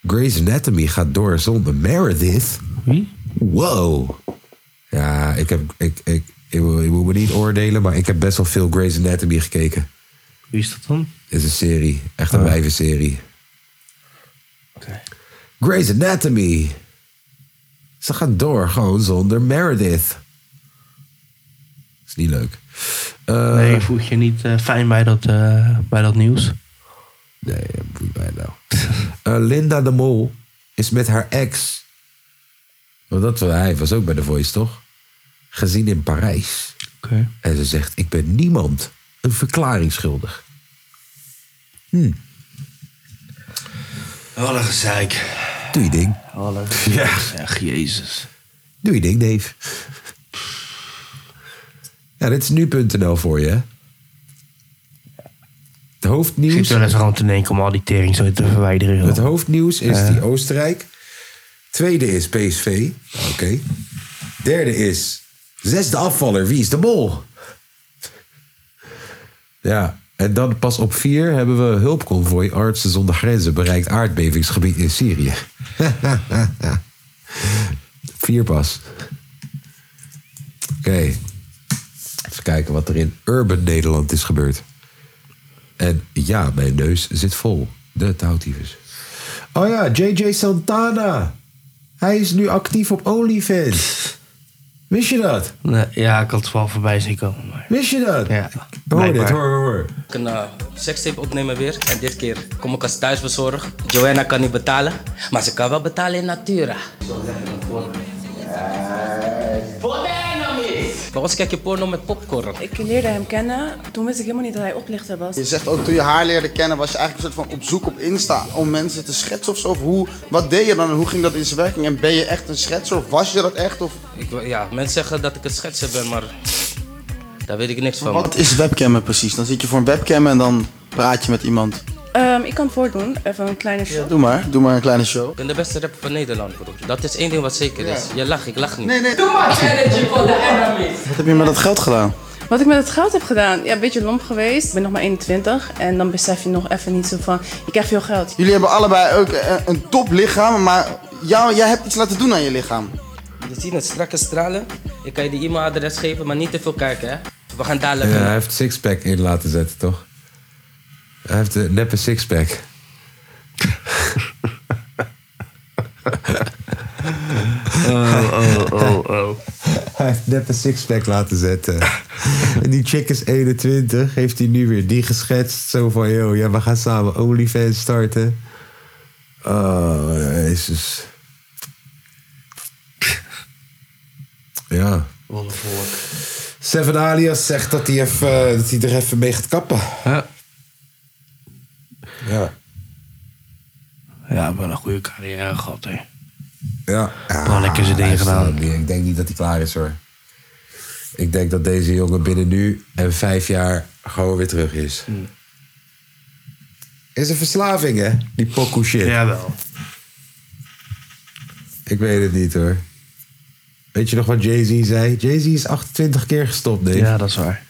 Speaker 1: Grey's Anatomy gaat door zonder Meredith.
Speaker 2: Wie?
Speaker 1: Wow. Ja, ik heb. Ik, ik, ik, wil- ik moet me niet oordelen, maar ik heb best wel veel Grey's Anatomy gekeken.
Speaker 2: Wie is dat dan?
Speaker 1: is een serie. Echt een wijvenserie. Grey's Anatomy. Ze gaat door gewoon zonder Meredith. Is niet leuk. Eh,
Speaker 2: nee, voel je je niet eh, fijn bij dat, eh, bij dat nieuws?
Speaker 1: Nee, boeit mij nou. Eh, Linda de Mol is met haar ex. Want dat, hij was ook bij The Voice, toch? Gezien in Parijs.
Speaker 2: Oké.
Speaker 1: En ze zegt, ik ben niemand een verklaring schuldig. Hm.
Speaker 2: Wat een gezeik.
Speaker 1: Doe je ding.
Speaker 2: Wat een
Speaker 1: Ja.
Speaker 2: Zeg, jezus.
Speaker 1: Doe je ding, Dave. Ja, dit is nu.nl voor je, hè? Het hoofdnieuws...
Speaker 2: Zit wel eens gewoon te denken om al die tering zo te verwijderen. joh.
Speaker 1: Het hoofdnieuws is
Speaker 2: Ja.
Speaker 1: die Oostenrijk. Tweede is PSV. Oké. Derde is zesde afvaller. Wie is de mol? Ja. En dan pas op vier hebben we hulpconvooi Artsen zonder grenzen bereikt aardbevingsgebied in Syrië. vier pas. Oké. Even kijken wat er in urban Nederland is gebeurd. En ja, mijn neus zit vol. De touwtyfus. Oh ja, JJ Santana. Hij is nu actief op OnlyFans. Wist je dat?
Speaker 2: Nee, ja, ik had het wel voorbij zien komen. maar-
Speaker 1: Wist je dat?
Speaker 2: Ja.
Speaker 1: Hoor dit,
Speaker 2: blijkbaar.
Speaker 1: hoor, hoor, hoor.
Speaker 12: Ik een eh, sekstape opnemen weer. En dit keer kom ik als thuisbezorger. Joanna kan niet betalen, maar ze kan wel betalen in Natura. Bij ons kijk je porno met popcorn.
Speaker 13: Ik leerde hem kennen, toen wist ik helemaal niet dat hij oplichter was.
Speaker 14: Je zegt ook toen je haar leerde kennen, was je eigenlijk een soort van op zoek op Insta om mensen te schetsen of zo. Of hoe, wat deed je dan en hoe ging dat in zijn werking? En ben je echt een schetser of was je dat echt? Of...
Speaker 12: Ik, wil- ja, mensen zeggen dat ik een schetser ben, maar daar weet ik niks van.
Speaker 14: Wat is webcammen precies? Dan zit je voor een webcam en dan praat je met iemand.
Speaker 13: Ehm, ik kan het voordoen, even een kleine show.
Speaker 14: Doe maar, doe maar een kleine show.
Speaker 12: Ik ben de beste rapper van Nederland, broer. Dat is één ding wat zeker is. Je lacht, ik lach niet.
Speaker 14: Nee, nee.
Speaker 12: Doe maar energy for the enemies.
Speaker 14: Wat heb je met dat geld gedaan?
Speaker 13: Wat ik met het geld heb gedaan, ja, een beetje lomp geweest. Ik ben nog maar 21 en dan besef je nog even niet zo van, je krijgt veel geld.
Speaker 14: Jullie hebben allebei ook een, een top lichaam, maar jou, jij hebt iets laten doen aan je lichaam.
Speaker 12: Je ziet het strakke stralen. Ik kan je die e-mailadres geven, maar niet te veel kijken, hè. We gaan
Speaker 1: Ja,
Speaker 12: dadelijk...
Speaker 1: hij heeft sixpack in laten zetten, toch? Hij heeft een neppe sixpack.
Speaker 2: Oh, oh, oh, oh.
Speaker 1: Hij heeft net een sixpack laten zetten. En die chick is 21. Heeft hij nu weer die geschetst? Zo van, yo, ja, we gaan samen OnlyFans starten. Oh, jezus. Ja.
Speaker 2: Wat een volk.
Speaker 1: Seven Alias zegt dat hij, even, eh, dat hij er even mee gaat kappen. Ja.
Speaker 2: Ja, wel een goede carrière gehad, hè.
Speaker 1: Ja.
Speaker 2: Ah, Wel lekker zijn
Speaker 1: hij
Speaker 2: ding
Speaker 1: is
Speaker 2: gedaan.
Speaker 1: er niet. Ik denk niet dat hij klaar is hoor. Ik denk dat deze jongen binnen nu en vijf jaar gewoon weer terug is. Is een verslaving, hè? Die pokoe shit.
Speaker 2: Jawel.
Speaker 1: Ik weet het niet, hoor. Weet je nog wat Jay-Z zei? Jay-Z is 28 keer gestopt, nee.
Speaker 2: Ja, dat is waar.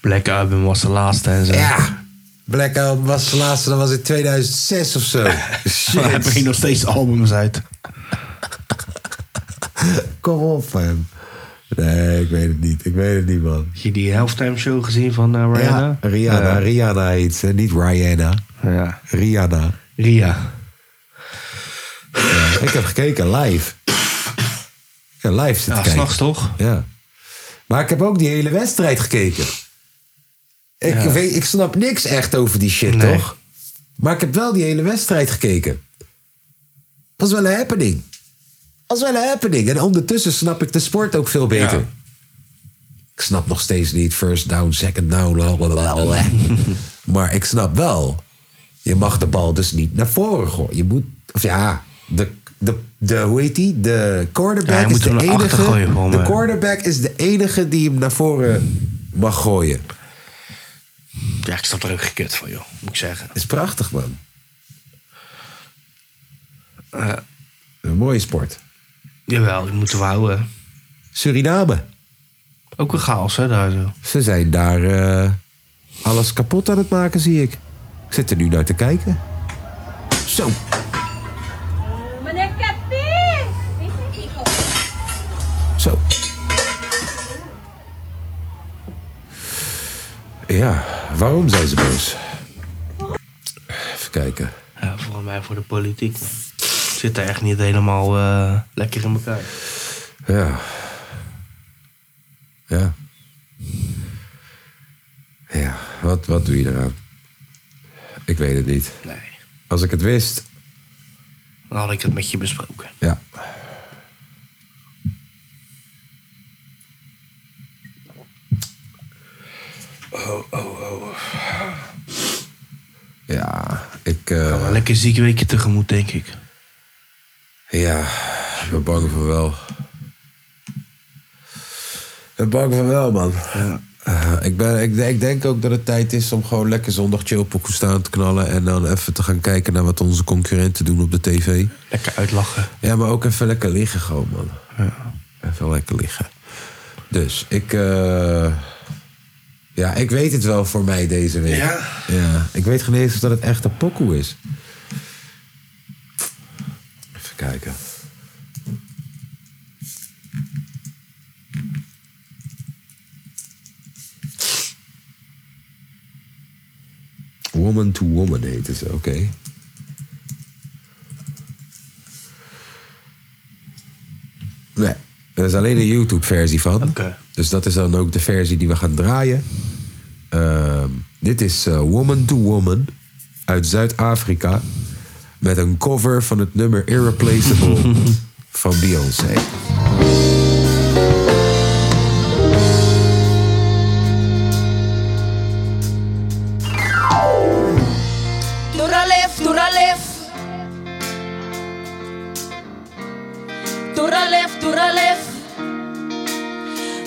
Speaker 2: Black Album was de laatste en zo.
Speaker 1: Ja. Black Album was de laatste, dat was in 2006 of zo. Shit.
Speaker 2: Hij brengt nog steeds albums uit.
Speaker 1: Kom op, man. Nee, ik weet het niet. Ik weet het niet, man.
Speaker 2: Heb je die halftime show gezien van eh, Rihanna?
Speaker 1: Ja, Rihanna.
Speaker 2: Eh,
Speaker 1: Rihanna heet ze, niet Rihanna.
Speaker 2: Ja.
Speaker 1: Rihanna.
Speaker 2: Ria.
Speaker 1: ik heb gekeken live. Ja, live zitten
Speaker 2: Ja,
Speaker 1: kijken.
Speaker 2: s'nachts toch?
Speaker 1: Ja. Maar ik heb ook die hele wedstrijd gekeken. Ik,
Speaker 2: Ja.
Speaker 1: weet, ik snap niks echt over die shit,
Speaker 2: Nee.
Speaker 1: toch? Maar ik heb wel die hele wedstrijd gekeken. Was wel een happening. Was wel een happening. En ondertussen snap ik de sport ook veel beter. Ik snap nog steeds niet first down, second down. blablabla. maar ik snap wel. Je mag de bal dus niet naar voren gooien. Je moet, of ja, de, de, de hoe heet die? De quarterback
Speaker 2: Ja, je
Speaker 1: is
Speaker 2: moet
Speaker 1: de
Speaker 2: hem naar achter
Speaker 1: enige.
Speaker 2: gooien, gewoon,
Speaker 1: de
Speaker 2: eh.
Speaker 1: quarterback is de enige die hem naar voren mag gooien.
Speaker 2: Ja, ik snap er ook gekut van, joh. Moet ik zeggen.
Speaker 1: Is prachtig, man. Eh, Een mooie sport.
Speaker 2: Jawel, die moeten we houden.
Speaker 1: Suriname.
Speaker 2: Ook een chaos, hè, daar zo.
Speaker 1: Ze zijn daar eh, alles kapot aan het maken, zie ik. Ik zit er nu naar te kijken. Zo.
Speaker 15: Meneer Kapi!
Speaker 1: Zo. Ja, waarom zijn ze boos? Even kijken.
Speaker 2: Ja, volgens mij voor de politiek. man. Zit daar echt niet helemaal eh, lekker in elkaar.
Speaker 1: Ja. Ja. Ja, wat, wat doe je eraan? Ik weet het niet.
Speaker 2: Nee.
Speaker 1: Als ik het wist,
Speaker 2: Dan had ik het met je besproken.
Speaker 1: ja.
Speaker 2: Oh, oh, oh.
Speaker 1: Ja, ik... eh,
Speaker 2: Een lekker ziek weekje tegemoet, denk ik.
Speaker 1: Ja, ik ben bang voor wel. Ik ben bang voor wel, man. Eh, ik, ben, ik, ik denk ook dat het tijd is om gewoon lekker zondag chillpokoe staan te knallen... en dan even te gaan kijken naar wat onze concurrenten doen op de tv.
Speaker 2: Lekker uitlachen.
Speaker 1: Ja, maar ook even lekker liggen gewoon, man.
Speaker 2: Ja.
Speaker 1: Even lekker liggen. Dus, ik... eh, ja, ik weet het wel voor mij deze week.
Speaker 2: Ja?
Speaker 1: Ja, ik weet geen eens of dat het echt een pokoe is. Even kijken. Woman to Woman heette ze, oké. Nee, er is alleen een YouTube-versie van. Dus dat is dan ook de versie die we gaan draaien. Ehm, dit is eh, Woman to Woman uit Zuid-Afrika. Met een cover van het nummer Irreplaceable van Beyoncé.
Speaker 15: Toeralef, toeralef. Toeralef, toeralef.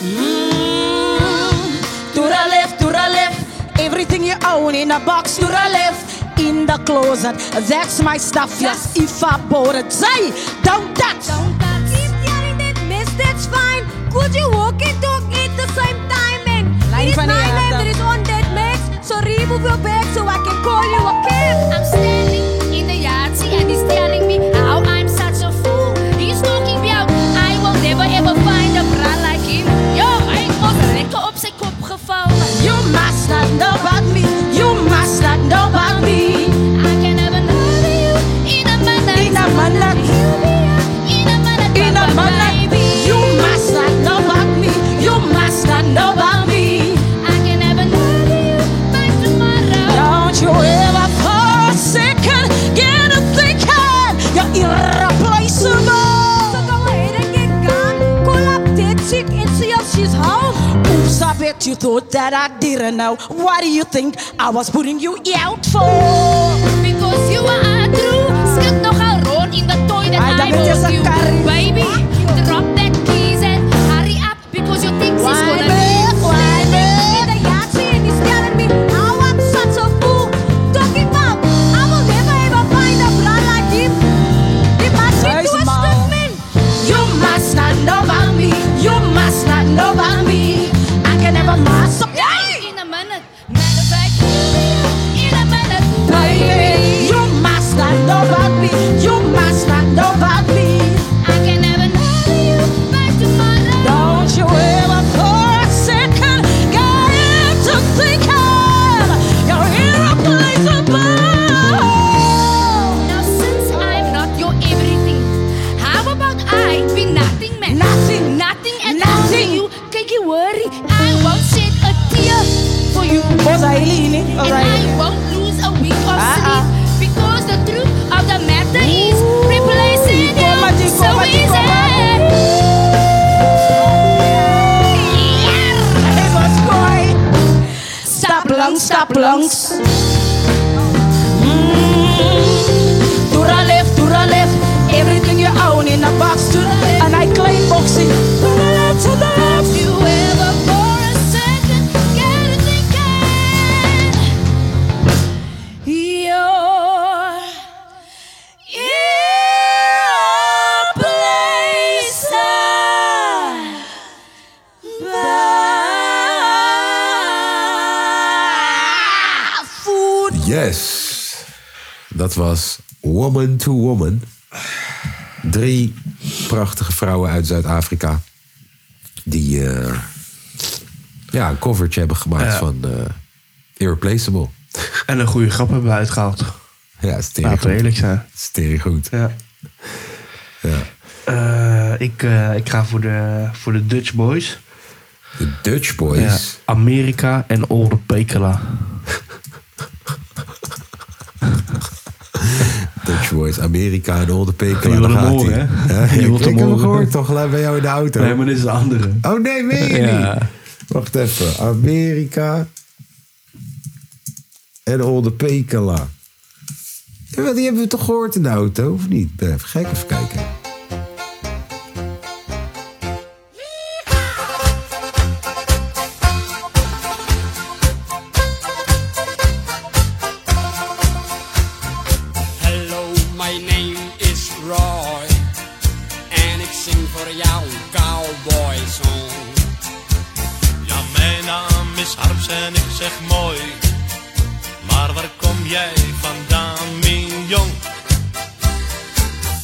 Speaker 15: Mm. Toeralef, toeralef.
Speaker 16: Everything you own in a box to the left, in the closet. That's my stuff, yes, if I bought it. Say, don't touch.
Speaker 15: Don't touch. Keep hearing that mess, that's fine. Could you walk and talk at the same time? And
Speaker 16: Line
Speaker 15: it is
Speaker 16: van die
Speaker 15: my
Speaker 16: harte.
Speaker 15: name that is on that max. So remove your bag so I can call you a cab. I'm standing in the yard, see, and he's telling me how I'm such a fool. He's talking about I will never ever find a bra like him. Yo, hij was lekker op zijn kop gevallen.
Speaker 16: You must not know about me. You must not know about me.
Speaker 15: I can never love you in a man like
Speaker 16: In a man like
Speaker 15: in
Speaker 16: in
Speaker 15: a man like
Speaker 16: a
Speaker 15: Papa
Speaker 16: man like
Speaker 15: Baby.
Speaker 16: You must not know about me. You must not know about me.
Speaker 15: I can never love you by tomorrow.
Speaker 16: Don't you ever for a second get a thinking you're irreplaceable.
Speaker 15: So go ahead and get gone. Call up that chick and see if she's home.
Speaker 16: Oops, I bet you thought that I didn't know. What do you think I was putting you out for?
Speaker 15: Because you are untrue. Skip nogal rond in the toy that
Speaker 16: Ai,
Speaker 15: I,
Speaker 16: dan moet je
Speaker 15: bought
Speaker 16: zijn
Speaker 15: you.
Speaker 16: kar in.
Speaker 15: Baby, drop that keys and hurry up because your things is
Speaker 16: Why,
Speaker 15: gonna
Speaker 16: babe?
Speaker 15: leave.
Speaker 16: Why,
Speaker 15: Standing in the yard, see, and he's telling me how I'm such a fool. Talking about I
Speaker 16: Boza Helini.
Speaker 15: And I won't lose a week of sleep because the truth of the matter is replacing you so easy.
Speaker 16: Stop lungs, stop lungs. Mm. To the left, to the left. Everything you own in a box to the left. And I claim boxing. To the left, to the left. You ever for a second get it
Speaker 15: Your place.
Speaker 16: Food.
Speaker 1: Yes. Dat was Woman to Woman. Drie prachtige vrouwen uit Zuid-Afrika. Die eh, ja, een covertje hebben gemaakt
Speaker 2: Ja.
Speaker 1: van eh, Irreplaceable.
Speaker 2: En een goede grap hebben we uitgehaald.
Speaker 1: Ja, stering
Speaker 2: Laten we
Speaker 1: goed.
Speaker 2: eerlijk zijn.
Speaker 1: Stering goed.
Speaker 2: Ja. Eh, ik, eh, ik ga voor de, voor de Dutch Boys.
Speaker 1: De Dutch Boys?
Speaker 2: Amerika en Olde Pekela.
Speaker 1: Dutch Boys, Amerika en Olde Pekel.
Speaker 2: Je
Speaker 1: Daar
Speaker 2: wil hem
Speaker 1: gaat
Speaker 2: horen,
Speaker 1: ie.
Speaker 2: hè?
Speaker 1: Ja,
Speaker 2: Je
Speaker 1: ik
Speaker 2: wilt
Speaker 1: ik
Speaker 2: hem
Speaker 1: heb hem
Speaker 2: horen.
Speaker 1: gehoord toch? Laat bij jou in de auto.
Speaker 2: Nee, maar dit is de andere.
Speaker 1: Oh nee, meen je
Speaker 2: Ja.
Speaker 1: niet? Wacht even. Amerika en Olde Pekela. Ja, wel, Die hebben we toch gehoord in de auto, of niet? Ben even gek even kijken.
Speaker 17: Hello, my name is Roy. En ik zing voor jou een cowboy song.
Speaker 18: Ja, mijn naam is Harps en ik zeg mooi. Maar waar kom jij vandaan, mignon?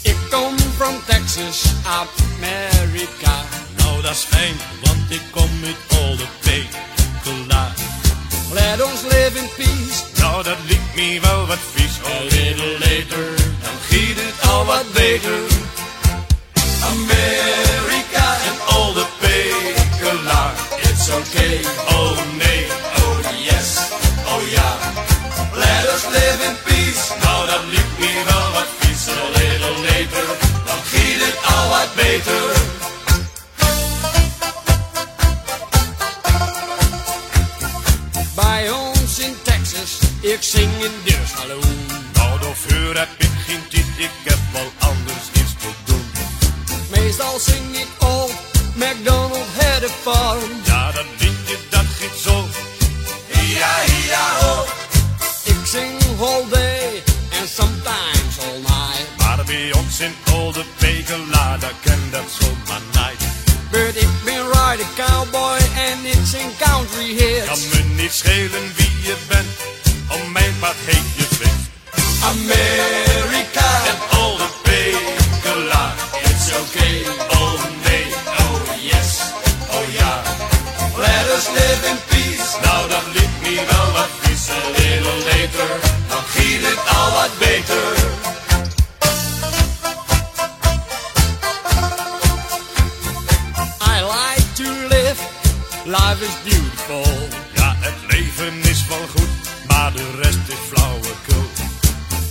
Speaker 17: Ik kom from Texas, America.
Speaker 18: Nou, dat is fijn, want ik kom uit Olde Pekela.
Speaker 17: Let ons live in peace.
Speaker 18: Nou, dat liep me wel wat vies. A little later, dan giet het al wat beter.
Speaker 17: America en Olde Pekela. It's okay. Oh nee, oh yes, oh ja. Let us live in peace. Nou, dat liep me wel wat vies. A little later, dan giet het al wat beter. Bij ons in Texas, ik zing in de saloon.
Speaker 18: Nou, door vuur heb ik geen tijd, ik heb wel anders iets te doen.
Speaker 17: Meestal zing ik old MacDonald had a farm.
Speaker 18: Ja, dat liedje, dat giet zo.
Speaker 17: Hia, hia, ho. Ik zing all day and sometimes all night.
Speaker 18: Maar bij ons in Olde Pekela, daar ken dat zomaar night.
Speaker 17: But ik ben ride a cowboy and it's in country
Speaker 18: Kan
Speaker 17: hits.
Speaker 18: me niet schelen wie je bent, om mijn paard heet je vis.
Speaker 17: America and all the
Speaker 18: Pekela, it's okay, oh nee, oh yes, oh ja.
Speaker 17: Let us live in peace. Nou, dat liep me wel wat vies. A little later, dan giet het al wat beter. I like to live. Life is beautiful.
Speaker 18: Ja, het leven is wel goed, maar de rest is flauwekul.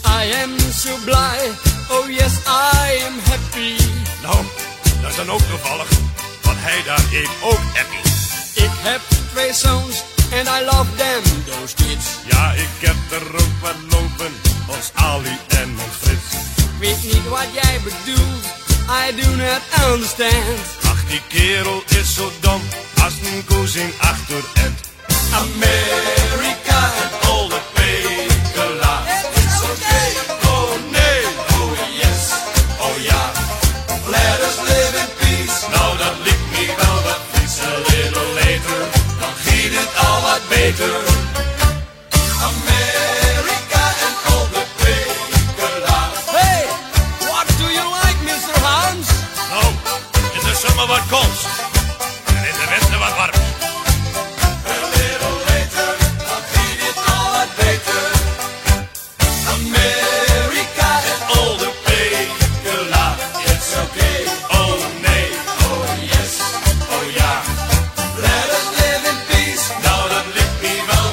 Speaker 17: I am so blij. Oh yes, I am happy.
Speaker 18: Nou, dat is dan ook toevallig, want hij daar heet ook Eppie.
Speaker 17: Ik heb twee zoons and I love them, those kids.
Speaker 18: Ja, ik heb er ook wat lopen, ons Ali en ons Frits.
Speaker 17: Weet niet wat jij bedoelt. I do not understand.
Speaker 18: Ach, die kerel is zo dom, als een koes in achter en
Speaker 17: America and all the Pekela. It's okay. Oh nee, oh yes, oh ja. Let us live in peace. Nou, dat liep me wel wat vies. A little later, dan giet het al wat beter. America and all the Pekela. Hey, what do you like, Mr. Hans?
Speaker 18: Nou, in de zomer wat kools en in de winter wat warm.
Speaker 17: America and all the Pekela. It's okay. Oh nee, oh yes, oh ja. Let us live in peace. Nou, dat ligt me wel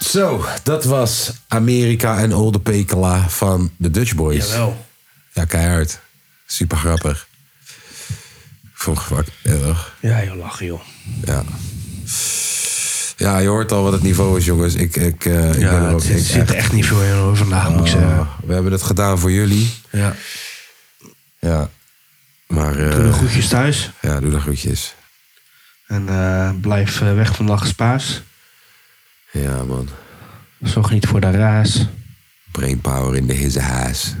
Speaker 1: Zo, dat was Amerika en Olde Pekela van de Dutch Boys.
Speaker 2: Jawel.
Speaker 1: Ja, keihard. Super grappig. Vroeg wat erg.
Speaker 2: Ja, joh, lachen joh.
Speaker 1: Ja. Ja, je hoort al wat het niveau is, jongens. Ik, ik, eh, ik ben er ook Oh.
Speaker 2: het zit,
Speaker 1: ik
Speaker 2: zit er echt niet veel in hoor, vandaag moet ik zeggen.
Speaker 1: We hebben het gedaan voor jullie.
Speaker 2: Ja.
Speaker 1: Ja. Maar, eh,
Speaker 2: Doe de groetjes thuis.
Speaker 1: Ja, doe de groetjes.
Speaker 2: En eh, blijf eh, weg van lachenspaas.
Speaker 1: Ja, man.
Speaker 2: Zorg niet voor de raas.
Speaker 1: Brainpower in de hisse haas.